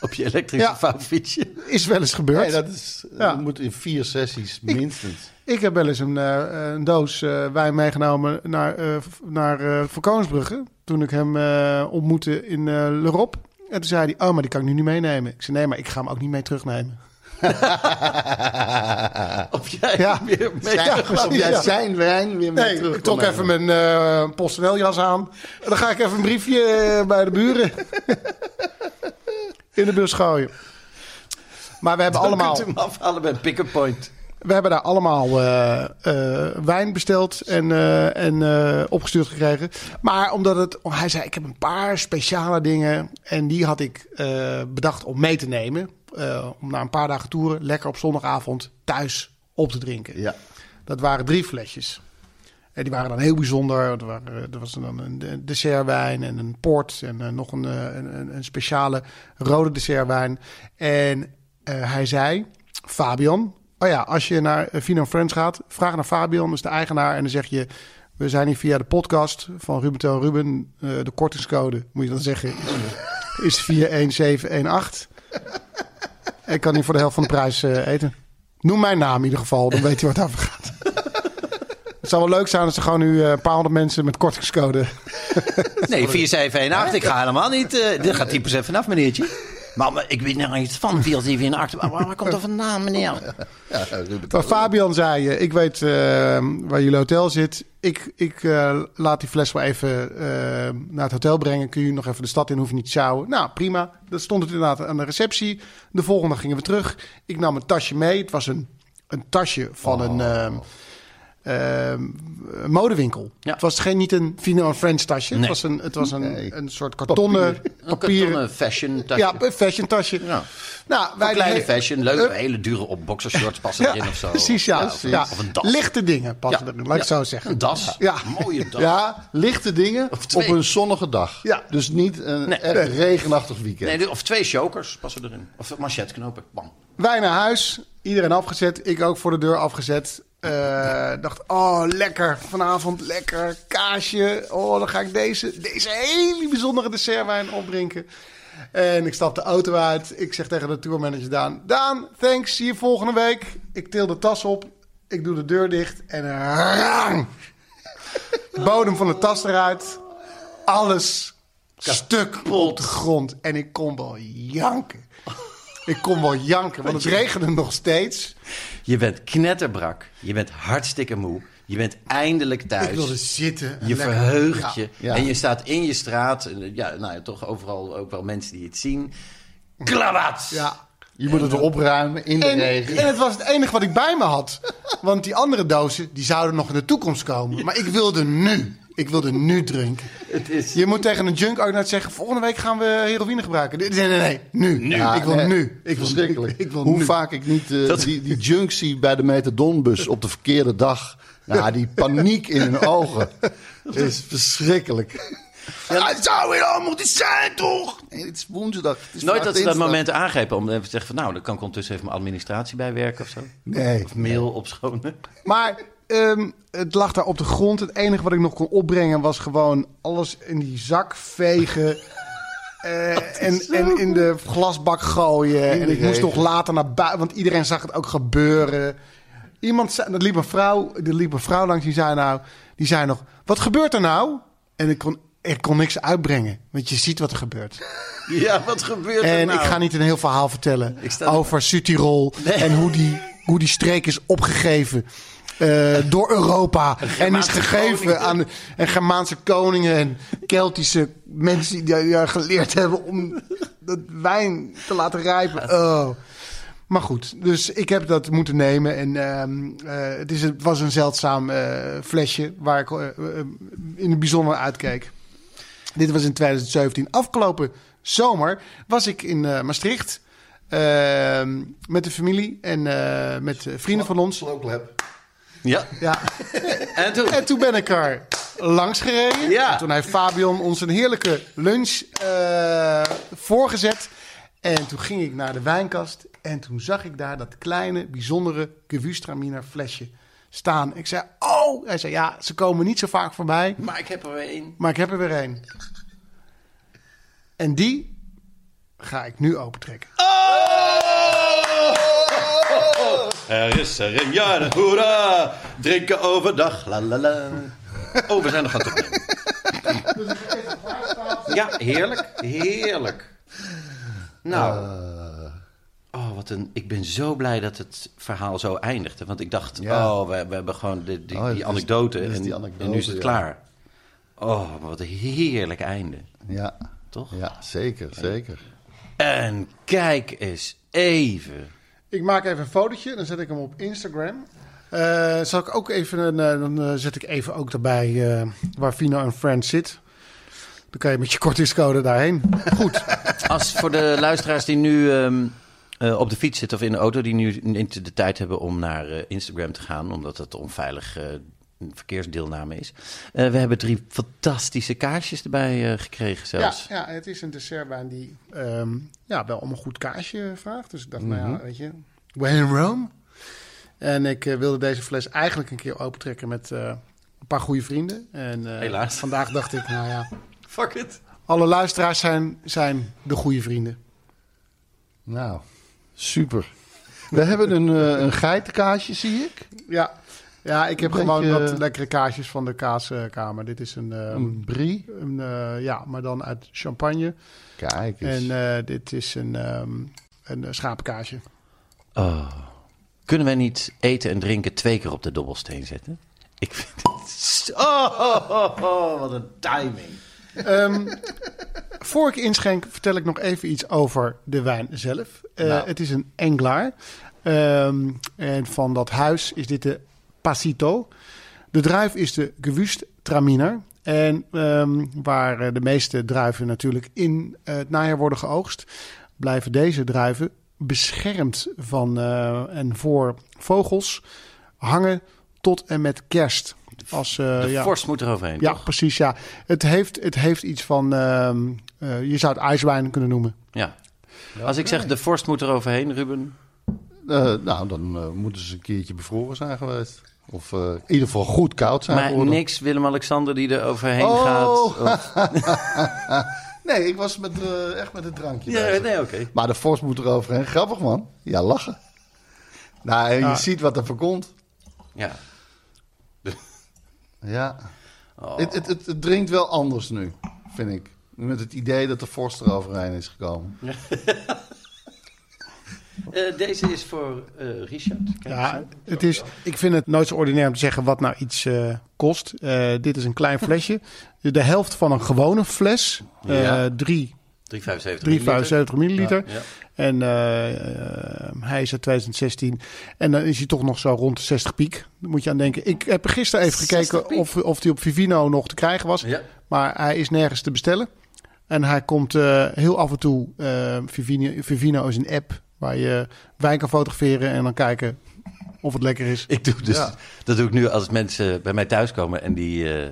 op je elektrische Ja. vouwfietsje. Is wel eens gebeurd. Nee, dat is, Ja. dat moet in vier sessies minstens. Ik heb wel eens een, eh, een doos eh, wijn meegenomen naar, eh v- naar eh Van Koningsbrugge. Toen ik hem eh, ontmoette in eh Lerop. En toen zei hij, oh, maar die kan ik nu niet meenemen. Ik zei, nee, maar ik ga hem ook niet mee terugnemen. Of jij Ja. weer mee Ja, Of precies, jij ja. zijn wijn weer mee Nee, terug ik kan trok even mijn eh PostNL-jas aan. En dan ga ik even een briefje eh, bij de buren in de bus gooien. Maar we hebben allemaal... kunt u hem afhalen bij Pick-up Point. We hebben daar allemaal eh, eh, wijn besteld en, eh, en eh, opgestuurd gekregen. Maar omdat het, oh, hij zei: Ik heb een paar speciale dingen. En die had ik eh, bedacht om mee te nemen. Eh, om na een paar dagen toeren lekker op zondagavond thuis op te drinken. Ja. Dat waren drie flesjes. En Eh, die waren dan heel bijzonder. Er, waren, er was dan een de- dessertwijn en een port en eh, nog een, eh, een, een- een speciale rode dessertwijn. En eh, hij zei, Fabian, oh ja, als je naar eh, Vino Friends gaat, vraag naar Fabian, dat is de eigenaar. En dan zeg je, we zijn hier via de podcast van Ruben Tel Ruben. Eh, de kortingscode, moet je dan zeggen, is 41718. Ik kan hier voor de helft van de prijs eh, eten. Noem mijn naam in ieder geval, dan weet je wat het over gaat. Het zou wel leuk zijn als er gewoon nu eh, een paar honderd mensen met kortingscode. Nee, 4718. Ik ga helemaal niet. eh dit gaat 10% vanaf, meneertje. Maar, maar ik weet nou iets van 4718. Maar waar, waar komt dat vandaan, meneer? Ja, Ruben. Maar Fabian zei: eh, Ik weet eh, waar jullie hotel zit. Ik, ik eh, laat die fles wel even eh, naar het hotel brengen. Kun je nog even de stad in? Hoef je niet te sjouwen. Nou, prima. Dat stond het inderdaad aan de receptie. De volgende gingen we terug. Ik nam een tasje mee. Het was een, een tasje van een. Oh. ehm, ehm, modewinkel. Het was geen, niet een Fino French tasje. Nee. Het was een, het was een, een soort kartonnen, Een papier, kartonnen fashion tasje. Ja, een fashion tasje. Nou, wij Kleine le- fashion, leuk. Hup. hele dure op boxershorts passen erin of zo. Eh? Precies, ja. of een- Ja. Of een das. Lichte dingen passen Ja. erin, laat ik Ja. zo zeggen. Een das. Ja. Mooie das. Ja, lichte dingen op twee. een zonnige dag. Ja. Dus niet een Nee. Eh, echt regenachtig weekend. Nee, of twee chokers passen erin. Of manchetknopen. Bam. Wij naar huis, iedereen afgezet, ik ook voor de deur afgezet. Eh, dacht, oh lekker, vanavond lekker, kaasje. Oh, dan ga ik deze, deze hele bijzondere dessertwijn opdrinken. En ik stap de auto uit. Ik zeg tegen de tourmanager Daan... Daan, thanks, zie je volgende week. Ik til de tas op, ik doe de deur dicht en... Rang! Bodem van de tas eruit. Alles stuk op de grond. En ik kon wel janken. Ik kon wel janken, want het regende nog steeds. Je bent knetterbrak. Je bent hartstikke moe. Je bent eindelijk thuis. Ik wilde zitten. en Je lekker- verheugt Ja. je. Ja. En je staat in je straat. En, Ja, nou ja, toch overal ook wel mensen die het zien. Klabats! Ja. Je moet het opruimen in de En, regen. en het was het enige wat ik bij me had. Want die andere dozen, die zouden nog in de toekomst komen. Maar ik wilde nu. Ik wilde nu drinken. Het is... Je moet tegen een junk ook net zeggen... volgende week gaan we heroïne gebruiken. Nee, nee, nee. nee, Nu. Ja, ik wil nee, nu. Ik wil, verschrikkelijk. Ik, ik wil Hoe nu. vaak ik niet eh, Dat- die, die junk zie bij de metadonbus op de verkeerde dag. Nou, die paniek in hun ogen is verschrikkelijk. Ja, het zou weer al moeten zijn, toch? Nee, het is woensdag. Het is Nooit vandaag dat ze dat dinsdag. moment aangrepen om even te zeggen van... nou, dan kan ik ondertussen even mijn administratie bijwerken of zo. Nee. Of mail opschonen. Maar ehm, het lag daar op de grond. Het enige wat ik nog kon opbrengen was gewoon alles in die zak vegen. eh, en, en in de glasbak gooien. de En ik moest regen. nog later naar buiten. Want iedereen zag het ook gebeuren. Iemand zei, dat liep een vrouw, er liep een vrouw langs. Die zei nou, die zei nog, wat gebeurt er nou? En ik kon, ik kon niks uitbrengen. Want je ziet wat er gebeurt. Ja, wat gebeurt er En nou? ik ga niet een heel verhaal vertellen Ik sta- over Sutirol en hoe die, hoe die streek is opgegeven. eh, door Europa. En is gegeven koningen. aan en Germaanse koningen en Keltische mensen die daar geleerd hebben om dat wijn te laten rijpen. Oh. Maar goed, dus ik heb dat moeten nemen. En ehm, eh, het, is, het was een zeldzaam eh, flesje waar ik eh, eh, in het bijzonder uitkeek. Dit was in 2017. Afgelopen zomer was ik in eh, Maastricht eh, met de familie en eh, met eh, vrienden van ons. Slowclap. Ja, Ja. en toen... En toen ben ik er langs gereden. Ja. En toen heeft Fabian ons een heerlijke lunch eh, voorgezet. En toen ging ik naar de wijnkast. En toen zag ik daar dat kleine, bijzondere Gewürztraminer flesje staan. Ik zei, oh! Hij zei, ja, ze komen niet zo vaak voorbij. Maar ik heb er weer één. Maar ik heb er weer één. En die ga ik nu opentrekken. Oh! Er is er een jaar, hoera! Drinken overdag, la la la. Oh, we zijn nog aan het opnemen. Ja, heerlijk, heerlijk. Nou, oh, wat een, ik ben zo blij dat het verhaal zo eindigde. Want ik dacht, Ja. oh, we, we hebben gewoon de, die, Oh, het die is- anekdote. het is en, die anekdote, en nu is het ja. klaar. Oh, wat een heerlijk einde. Ja. Toch? Ja, zeker, zeker. En kijk eens even. Ik maak even een fotootje, dan zet ik hem op Instagram. Eh, zal ik ook even een, eh, dan eh, zet ik even ook daarbij eh, waar Fino en Friends zit. Dan kan je met je kortingscode daarheen. Goed. Als voor de luisteraars die nu ehm, eh, op de fiets zitten of in de auto, die nu niet de tijd hebben om naar eh, Instagram te gaan, omdat het onveilig eh, een verkeersdeelname is. Eh, we hebben drie fantastische kaarsjes erbij eh, gekregen Ja, zelfs. ja, het is een dessertwijn die ehm, ja, wel om een goed kaasje vraagt. Dus ik dacht, nou Mhm. ja, weet je, we're in Rome. En ik eh, wilde deze fles eigenlijk een keer opentrekken met eh, een paar goede vrienden. En eh, Helaas. vandaag dacht ik, nou ja, Fuck it. alle luisteraars zijn, zijn de goede vrienden. Nou, super. We hebben een, eh, een geitenkaasje, zie ik. Ja, ja ik heb Een gewoon beetje- wat lekkere kaasjes van de kaaskamer. Dit is een... eh, Een brie. een, eh, ja, maar dan uit champagne. Kijk eens. En eh, dit is een, ehm een eh, schapenkaasje. Oh. Kunnen wij niet eten en drinken twee keer op de dobbelsteen zetten? Ik vind het zo... Oh, oh, oh, oh, wat een timing. Ehm, voor ik inschenk, vertel ik nog even iets over de wijn zelf. Eh, Nou. Het is een Englaar. Ehm, en van dat huis is dit de Pasito. De druif is de Gewust Traminer. En ehm, waar eh, de meeste druiven natuurlijk in eh, het najaar worden geoogst, blijven deze druiven beschermd van eh, en voor vogels hangen tot en met kerst. Als, eh, De ja. vorst moet er overheen, Ja, toch? precies. Ja. Het, heeft, het heeft iets van. ehm, eh, je zou het ijswijn kunnen noemen. Ja. Als ik zeg de vorst moet er overheen, Ruben. Eh, nou, dan eh, moeten ze een keertje bevroren zijn geweest. Of eh, in ieder geval goed koud zijn maar geworden. niks Willem-Alexander die er overheen Oh. gaat. Of- nee, ik was met, eh, echt met een drankje Ja, bezig. nee, oké. Maar de fors moet eroverheen. Grappig, man. Ja, lachen. Nou, en je Ja. ziet wat er voor komt. Ja. Ja. Oh. Het, het, het, het drinkt wel anders nu, vind ik. Met het idee dat de fors eroverheen is gekomen. Eh, deze is voor eh, Richard. Kijk eens Ja, aan. het is, ik vind het nooit zo ordinair om te zeggen wat nou iets eh, kost. Eh, dit is een klein flesje. De helft van een gewone fles. eh Ja. 3, 375. 375 milliliter. Ja. En eh, eh, hij is uit 2016. En dan is hij toch nog zo rond de 60 piek. Daar moet je aan denken. Ik heb gisteren even 60 gekeken piek? of, of hij op Vivino nog te krijgen was. Ja. Maar hij is nergens te bestellen. En hij komt eh, heel af en toe. eh, Vivino, Vivino is een app waar je wijn kan fotograferen en dan kijken of het lekker is. Ik doe dus, Ja. Dat doe ik nu als mensen bij mij thuiskomen en die, eh,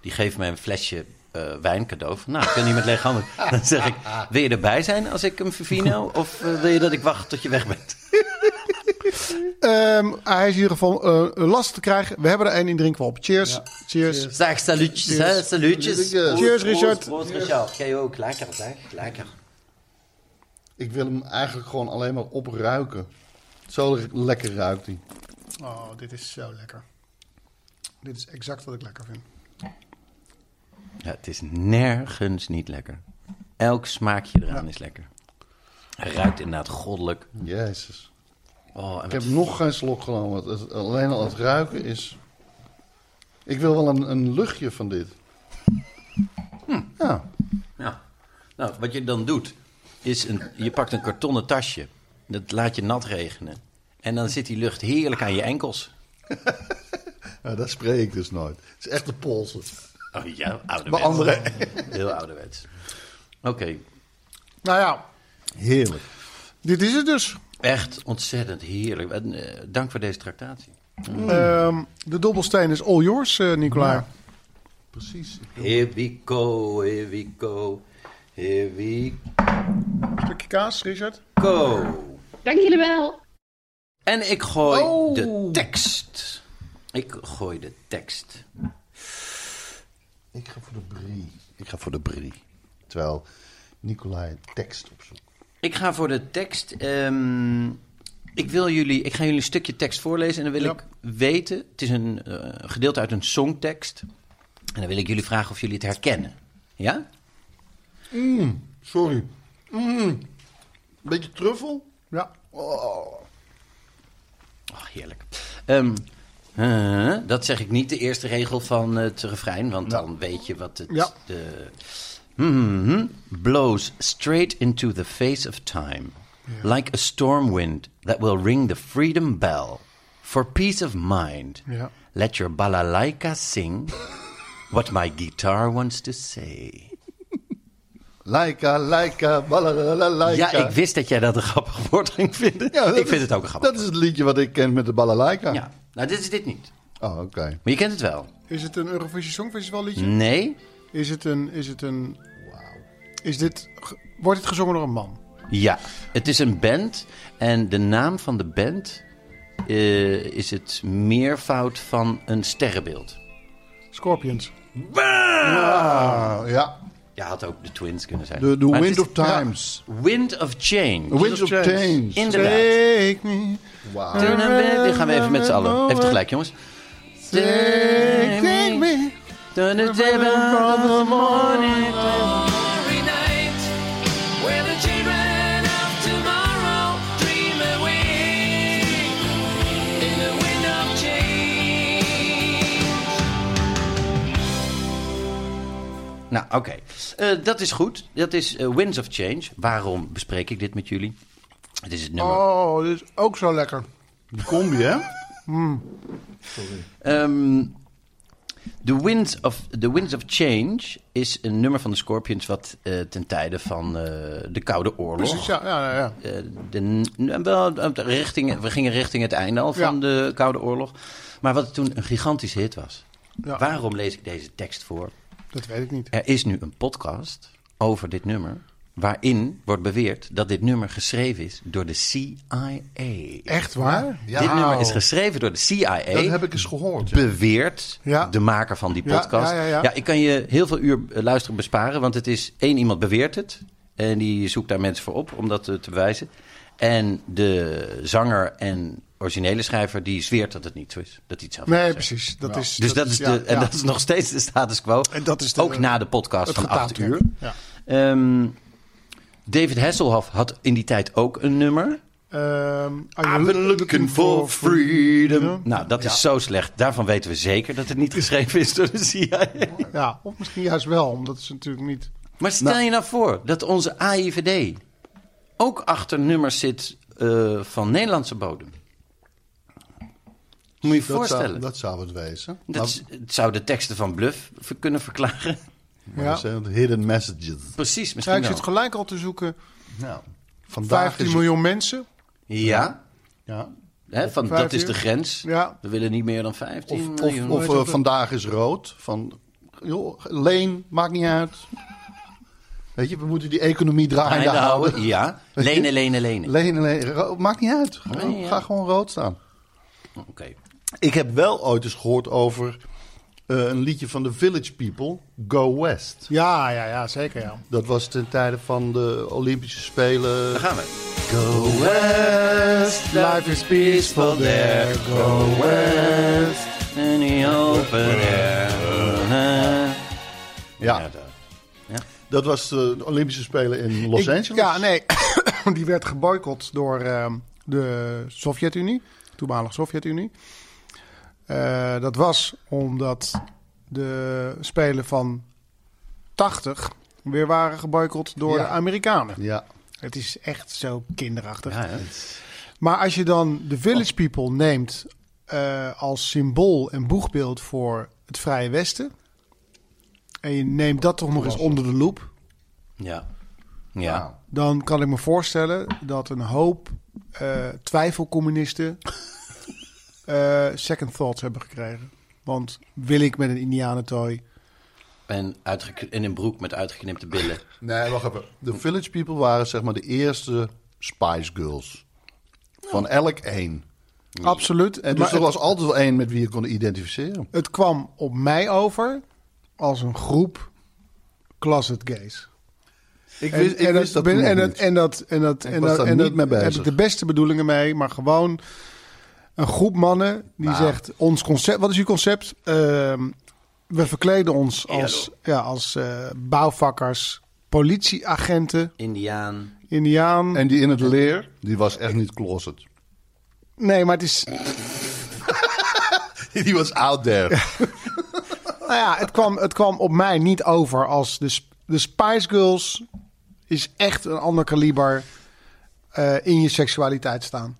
die geven mij een flesje eh, wijn cadeau. Van, nou, ik wil niet met lege handen. Dan zeg ik, wil je erbij zijn als ik hem vervino? Of eh, wil je dat ik wacht tot je weg bent? Ehm, hij is in ieder geval eh, lastig te krijgen. We hebben er één in drinkwalp. Cheers. Cheers. Zeg, salutjes, hè, salutjes. Salutjes. Cheers, Richard. Proost, proost, Richard. Jij ook, lekker, zeg, lekker. Ik wil hem eigenlijk gewoon alleen maar opruiken. Zo le- lekker ruikt hij. Oh, dit is zo lekker. Dit is exact wat ik lekker vind. Ja, het is nergens niet lekker. Elk smaakje eraan is lekker. Hij ruikt inderdaad goddelijk. Jezus. Oh, en Ik heb nog geen slok genomen. Het- het- alleen al het ruiken is... Ik wil wel een, een luchtje van dit. Ja. Ja. Nou, wat je dan doet, is een, je pakt een kartonnen tasje. Dat laat je nat regenen. En dan zit die lucht heerlijk aan je enkels. ja, dat spreek ik dus nooit. Het is echt de polsen. Oh ja, Bij ouderwets. anderen. Heel ouderwets. Oké, Nou ja, Heerlijk. dit is het dus. echt ontzettend heerlijk. En, eh, dank voor deze tractatie. Mm. Ehm, de dobbelsteen is all yours, eh Nicola. Precies. Here we go, here we go, here we Stukje kaas, Richard. go. Dank jullie wel. En ik gooi Oh. de tekst. Ik gooi de tekst. Ik ga voor de brie. Ik ga voor de brie. Terwijl Nicolai tekst opzoekt. Ik ga voor de tekst. ehm, ik, wil jullie, ik ga jullie een stukje tekst voorlezen en dan wil ik weten... Het is een eh, gedeelte uit een songtekst. En dan wil ik jullie vragen of jullie het herkennen. Ja? Mm, sorry. Mm. Beetje truffel? Ja. Oh. Ach, heerlijk. Ehm, eh, dat zeg ik niet de eerste regel van eh, het refrein, want dan weet je wat het... Ja. De, Mhm. blows straight into the face of time, like a storm wind that will ring the freedom bell. For peace of mind, Ja. let your balalaika sing what my guitar wants to say. Laika, laika, balalala, laika. Ja, ik wist dat jij dat een grappig woord ging vinden. Ja, dat ik vind is- het ook een grappig Dat is het liedje wat ik ken met de balalaika. Ja. Nou, dit is dit niet. Oh, oké. Maar je kent het wel. Is het een Eurovisie Songfestival liedje? Nee? Is het een... Is het een is dit, ge- wordt dit gezongen door een man? Ja, het is een band. En de naam van de band eh, is het meervoud van een sterrenbeeld. Scorpions. Ah, ja. Je had ook de Twins kunnen zijn. The, the Maar het Wind is- of Times. Ja, wind of Change. The Wind of Change. Inderdaad. Take me. Wauw. Die gaan we even met z'n allen. Even tegelijk, jongens. Take, take me. Nou, oké. Eh, dat is goed. Dat is eh, Winds of Change. Waarom bespreek ik dit met jullie? Het is het nummer. Oh, dit is ook zo lekker. Die combi, hè? Ehm, the, Winds of, the Winds of Change is een nummer van de Scorpions... wat eh, ten tijde van eh, de Koude Oorlog... Precies, ja. ja, ja, ja. eh, de, nou, wel, eh, richting, we gingen richting het einde al van de Koude Oorlog. Maar wat toen een gigantische hit was. Ja. Waarom lees ik deze tekst voor? Dat weet ik niet. Er is nu een podcast over dit nummer... waarin wordt beweerd dat dit nummer geschreven is door de CIA. Echt waar? Ja. Dit nummer is geschreven door de CIA. Dat heb ik eens gehoord. ja. Beweert Ja. de maker van die Ja, podcast. ja, ja, ja. ik kan je heel veel uur eh, luisteren besparen. Want het is één iemand beweert het. En die zoekt daar mensen voor op om dat eh, te bewijzen. En de zanger en originele schrijver die zweert dat het niet zo is. Dat hij het zelf heeft Nee, gezegd. precies. Dat is, Dus dat, is de, ja, en ja. dat is nog steeds de status quo. En dat is de- ook na de podcast het van 8 uur. getaaktrekken. Ja. Ehm, David Hasselhoff had in die tijd ook een nummer. Ehm, are you I've been looking for freedom. Nou, dat is zo slecht. Daarvan weten we zeker dat het niet geschreven is door de CIA. Ja, of misschien juist wel, omdat ze natuurlijk niet... Maar stel je nou voor dat onze AIVD ook achter nummers zit eh, van Nederlandse bodem. Moet je je Dat zou, voorstellen. dat nou. zou het wezen. Dat is- het zou de teksten van Bluff ver- kunnen verklaren. Maar Ja. dat eh, zijn de hidden messages. Precies, Ja, misschien ik zit wel. gelijk al te zoeken. Nou, vandaag 15 is het- miljoen mensen. Ja, Ja. hè, van, Vijf dat is uur. de grens. Ja. We willen niet meer dan 15 Of, of, miljoen. of, eh, vandaag is rood. Van, joh, leen, maakt niet uit. Weet je, we moeten die economie draaiende Einde houden. houden. Ja, lenen, lenen, lenen. Lenen, lenen, ro- maakt niet uit. Gewoon- Nee, ja. Ga gewoon rood staan. Oké. Ik heb wel ooit eens gehoord over eh, een liedje van de Village People, Go West. Ja, ja, ja, zeker ja. Dat was ten tijde van de Olympische Spelen. Daar gaan we. Go West, Life is peaceful there, go West. In the open air. Ja, dat was eh, de Olympische Spelen in Los Ik- Angeles. Ja, nee. die werd geboycott door ehm, de Sovjet-Unie. Toenmalig Sovjet-Unie. Eh, dat was omdat de Spelen van 80 weer waren geboycott door Ja. de Amerikanen. Ja, Het is echt zo kinderachtig. Ja, hè? Maar als je dan de Village People neemt eh, als symbool en boegbeeld voor het Vrije Westen. En je neemt dat toch nog eens onder de loep. Ja. Ja. Wauw. Dan kan ik me voorstellen dat een hoop eh, twijfelcommunisten eh, second thoughts hebben gekregen. Want wil ik met een Indianentooi? En, uitgek- en een broek met uitgeknipte billen. Nee, wacht even. De Village People waren zeg maar de eerste Spice Girls. Van elk één. Absoluut. En dus Maar er het- was altijd wel één met wie je kon identificeren. Het kwam op mij over als een groep closet gays. Ik En- wist- ik en wist dat toen nog en dat, niet. en dat en dat Ik en was dat daar en niet dat mee heb bezig. ik de beste bedoelingen mee, maar gewoon een groep mannen die Nou. zegt ons concept. Wat is uw concept? Ehm, we verkleden ons als ja als eh, bouwvakkers, politieagenten, Indiaan. Indiaan. En die in het leer, die was echt niet closet. Nee, maar het is Die was out there. Nou ja, het kwam, het kwam op mij niet over als de, Sp- de Spice Girls is echt een ander kaliber eh, in je seksualiteit staan.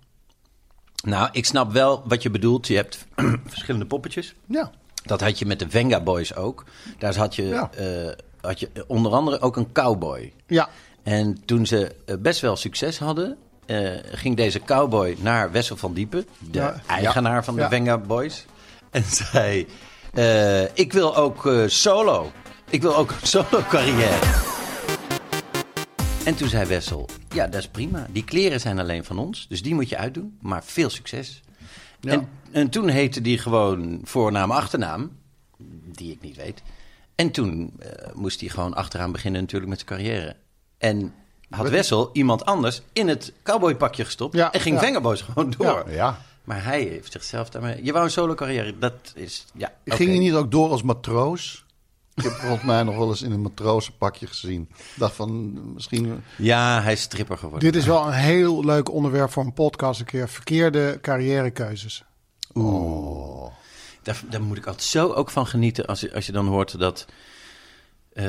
Nou, ik snap wel wat je bedoelt. Je hebt verschillende poppetjes. Ja. Dat had je met de Venga Boys ook. Daar had je, Ja. eh, had je onder andere ook een cowboy. Ja. En toen ze eh, best wel succes hadden, eh, ging deze cowboy naar Wessel van Diepen, de Ja. eigenaar Ja. van de Ja. Venga Boys. En zei: eh, Ik wil ook eh, solo. Ik wil ook een solo carrière. En toen zei Wessel: Ja, dat is prima. Die kleren zijn alleen van ons, dus die moet je uitdoen. Maar veel succes. En, en toen heette die gewoon voornaam, achternaam, die ik niet weet. En toen eh, moest hij gewoon achteraan beginnen, natuurlijk, met zijn carrière. En had Wessel iemand anders in het cowboypakje gestopt Ja, en ging ja. Vengaboys gewoon door. Ja, ja. Maar hij heeft zichzelf daarmee. Je wou een solo carrière, dat is. Ja, Ging oké. je niet ook door als matroos? Ik heb volgens mij nog wel eens in een matrozenpakje gezien. Dacht van, misschien... Ja, hij is stripper geworden. Dit is wel een heel leuk onderwerp voor een podcast een keer. Verkeerde carrièrekeuzes. Oeh. Daar, daar moet ik altijd zo ook van genieten als je, als je dan hoort dat, eh,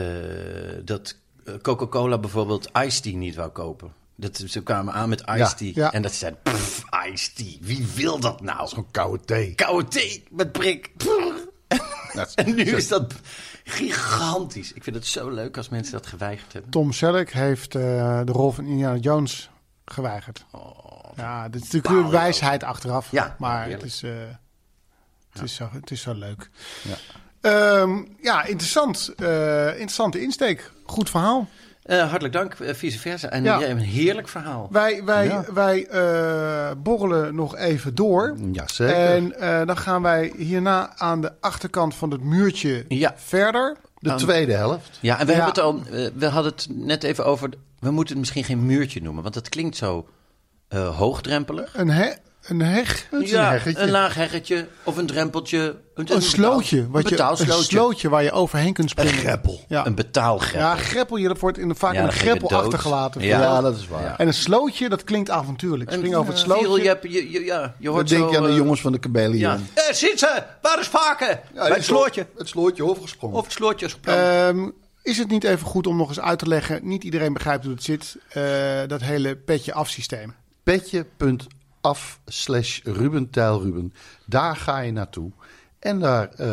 dat eh, Coca-Cola bijvoorbeeld Ice Tea niet wou kopen. Dat, ze kwamen aan met Ice Ja, Tea. ja. En dat ze zeiden, pff, Ice Tea, wie wil dat nou? Zo'n koude thee. Koude thee met prik. en nu is dat gigantisch. Ik vind het zo leuk als mensen dat geweigerd hebben. Tom Selleck heeft eh, de rol van Indiana Jones geweigerd. ja, dit is natuurlijk balen, weer wijsheid achteraf. Oh, Ja, maar heerlijk. het is, eh, het, is zo, het is zo leuk. Ja. Ehm, ja, interessant. Eh, interessante insteek. Goed verhaal. Eh, hartelijk dank, eh, vice versa. En Ja. jij hebt een heerlijk verhaal. Wij, wij, Ja. wij eh, borrelen nog even door. Jazeker. En eh, dan gaan wij hierna aan de achterkant van het muurtje verder. De tweede helft. Ja, en we, Ja. Hebben het al, eh, we hadden het net even over. We moeten het misschien geen muurtje noemen, want dat klinkt zo eh, hoogdrempelig. Een, he- een heg. ja, een laag heggetje of een drempeltje. Een, Een slootje. Wat een je, een betaalslootje. slootje waar je overheen kunt springen. Een greppel. Ja, Een betaalgreppel. ja greppel. Je dat wordt in de, vaak Ja, in een dan ging je greppel dood. achtergelaten. Ja, Vooral. dat is waar. Ja. En een slootje, dat klinkt avontuurlijk. Spring over het Ja, Viel, slootje. je, hebt- eh, je, je- ja, je Dan hoort denk zo, je aan de eh, jongens van de Cabellion. Ja. Eh, zit ze! Waar is Vaken? Bij het slootje. Het slootje overgesprongen. Of het slootje is gepland. Ehm, is het niet even goed om nog eens uit te leggen? Niet iedereen begrijpt hoe het zit. eh, dat hele petje afsysteem. petje.af slash Ruben Tijl Ruben. Daar ga je naartoe. En daar eh,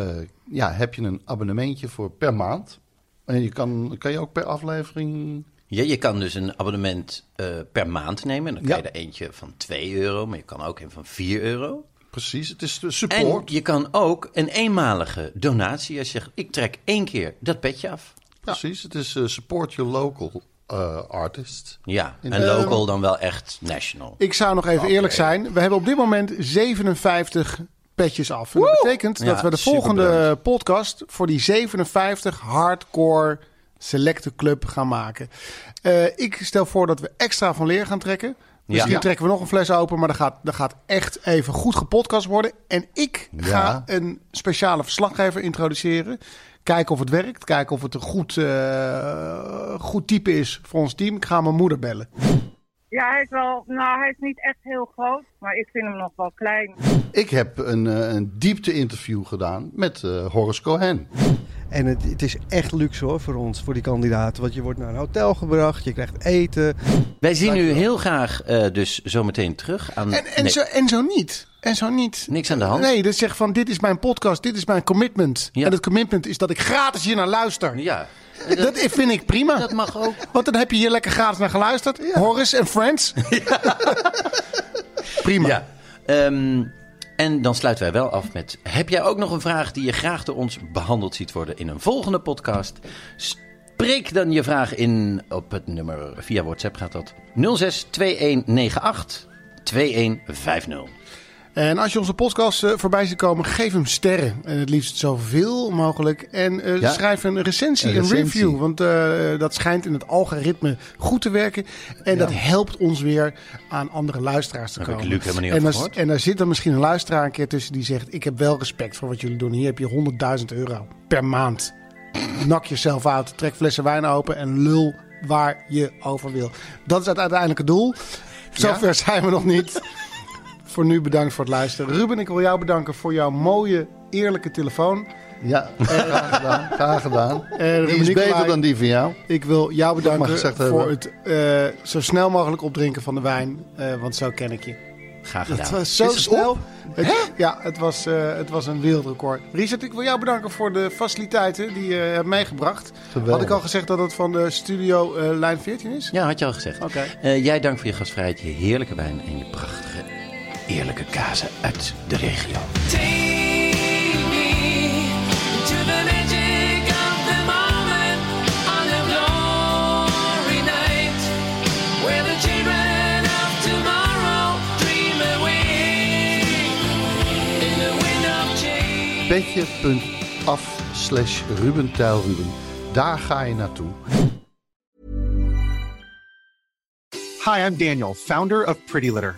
ja, heb je een abonnementje voor per maand. En je kan, kan je ook per aflevering... Ja, je kan dus een abonnement eh, per maand nemen. Dan kan je er eentje van 2 euro, maar je kan ook een van 4 euro. Precies, het is En support. je kan ook een eenmalige donatie. Als je zegt, ik trek één keer dat petje af. Precies, het is eh, support your local eh, artist. Ja, In- en local dan wel echt national. Ik zou nog even eerlijk zijn. We hebben op dit moment 57 petjes af. En dat betekent dat Ja, we de volgende podcast voor die 57 hardcore selecte club gaan maken. Eh, ik stel voor dat we extra van leer gaan trekken. Misschien Ja. trekken we nog een fles open, maar dat gaat, dat gaat echt even goed gepodcast worden. En ik Ja. ga een speciale verslaggever introduceren. Kijken of het werkt. Kijken of het een goed, eh, goed type is voor ons team. Ik ga mijn moeder bellen. Ja, hij is wel. Nou, hij is niet echt heel groot, maar ik vind hem nog wel klein. Ik heb een, eh, een diepte-interview gedaan met eh, Horace Cohen. En het, het is echt luxe hoor voor ons, voor die kandidaten. Want je wordt naar een hotel gebracht, je krijgt eten. Wij zien u heel graag eh, dus zometeen terug aan... En, en, nee, zo, en zo niet. En zo niet. Niks aan de hand. Nee, dat zegt van dit is mijn podcast, dit is mijn commitment. En het commitment is dat ik gratis hier naar luister. Ja. Dat, vind ik prima. Dat mag ook. Want dan heb je hier lekker gratis naar geluisterd. Horace en Friends. Prima. Ja. Ehm, en dan sluiten wij wel af met... Heb jij ook nog een vraag die je graag door ons behandeld ziet worden in een volgende podcast? Spreek dan je vraag in op het nummer... Via WhatsApp gaat dat. 06 2198 2150. En als je onze podcast eh, voorbij ziet komen, geef hem sterren. En het liefst zoveel mogelijk. En eh, Ja. schrijf een recensie, Een een, recensie. review. Want eh, dat schijnt in het algoritme goed te werken. En dat helpt ons weer aan andere luisteraars te Daar heb ik komen. Luc helemaal niet en, over daar, gehoord. en daar zit dan misschien een luisteraar een keer tussen die zegt... ik heb wel respect voor wat jullie doen. Hier heb je 100.000 euro per maand. Nak jezelf uit, trek flessen wijn open en lul waar je over wil. Dat is het uiteindelijke doel. Zover zijn we nog niet. voor nu bedankt voor het luisteren. Ruben, ik wil jou bedanken voor jouw mooie, eerlijke telefoon. Ja, graag gedaan. Graag gedaan. Eh, die is Nicolai, beter dan die van jou. Ik wil jou mag bedanken gezegd voor hebben. het eh, zo snel mogelijk opdrinken van de wijn. eh, want zo ken ik je. Graag Het gedaan. was zo Is het snel. Het- ja, het was, eh, het was een wereldrecord. Richard, ik wil jou bedanken voor de faciliteiten die je hebt meegebracht. Geweldig. Had ik al gezegd dat het van de studio eh, lijn 14 is? Ja, had je al gezegd. Oké. Eh, jij dank voor je gastvrijheid, je heerlijke wijn en je prachtige, eerlijke kazen uit de regio. Take me to the magic of the moment on a glory night where the children of tomorrow dream away in the wind of change. Petje.af slash Ruben Tijl Ruben. Daar ga je naartoe. Hi, I'm Daniel, founder of Pretty Litter.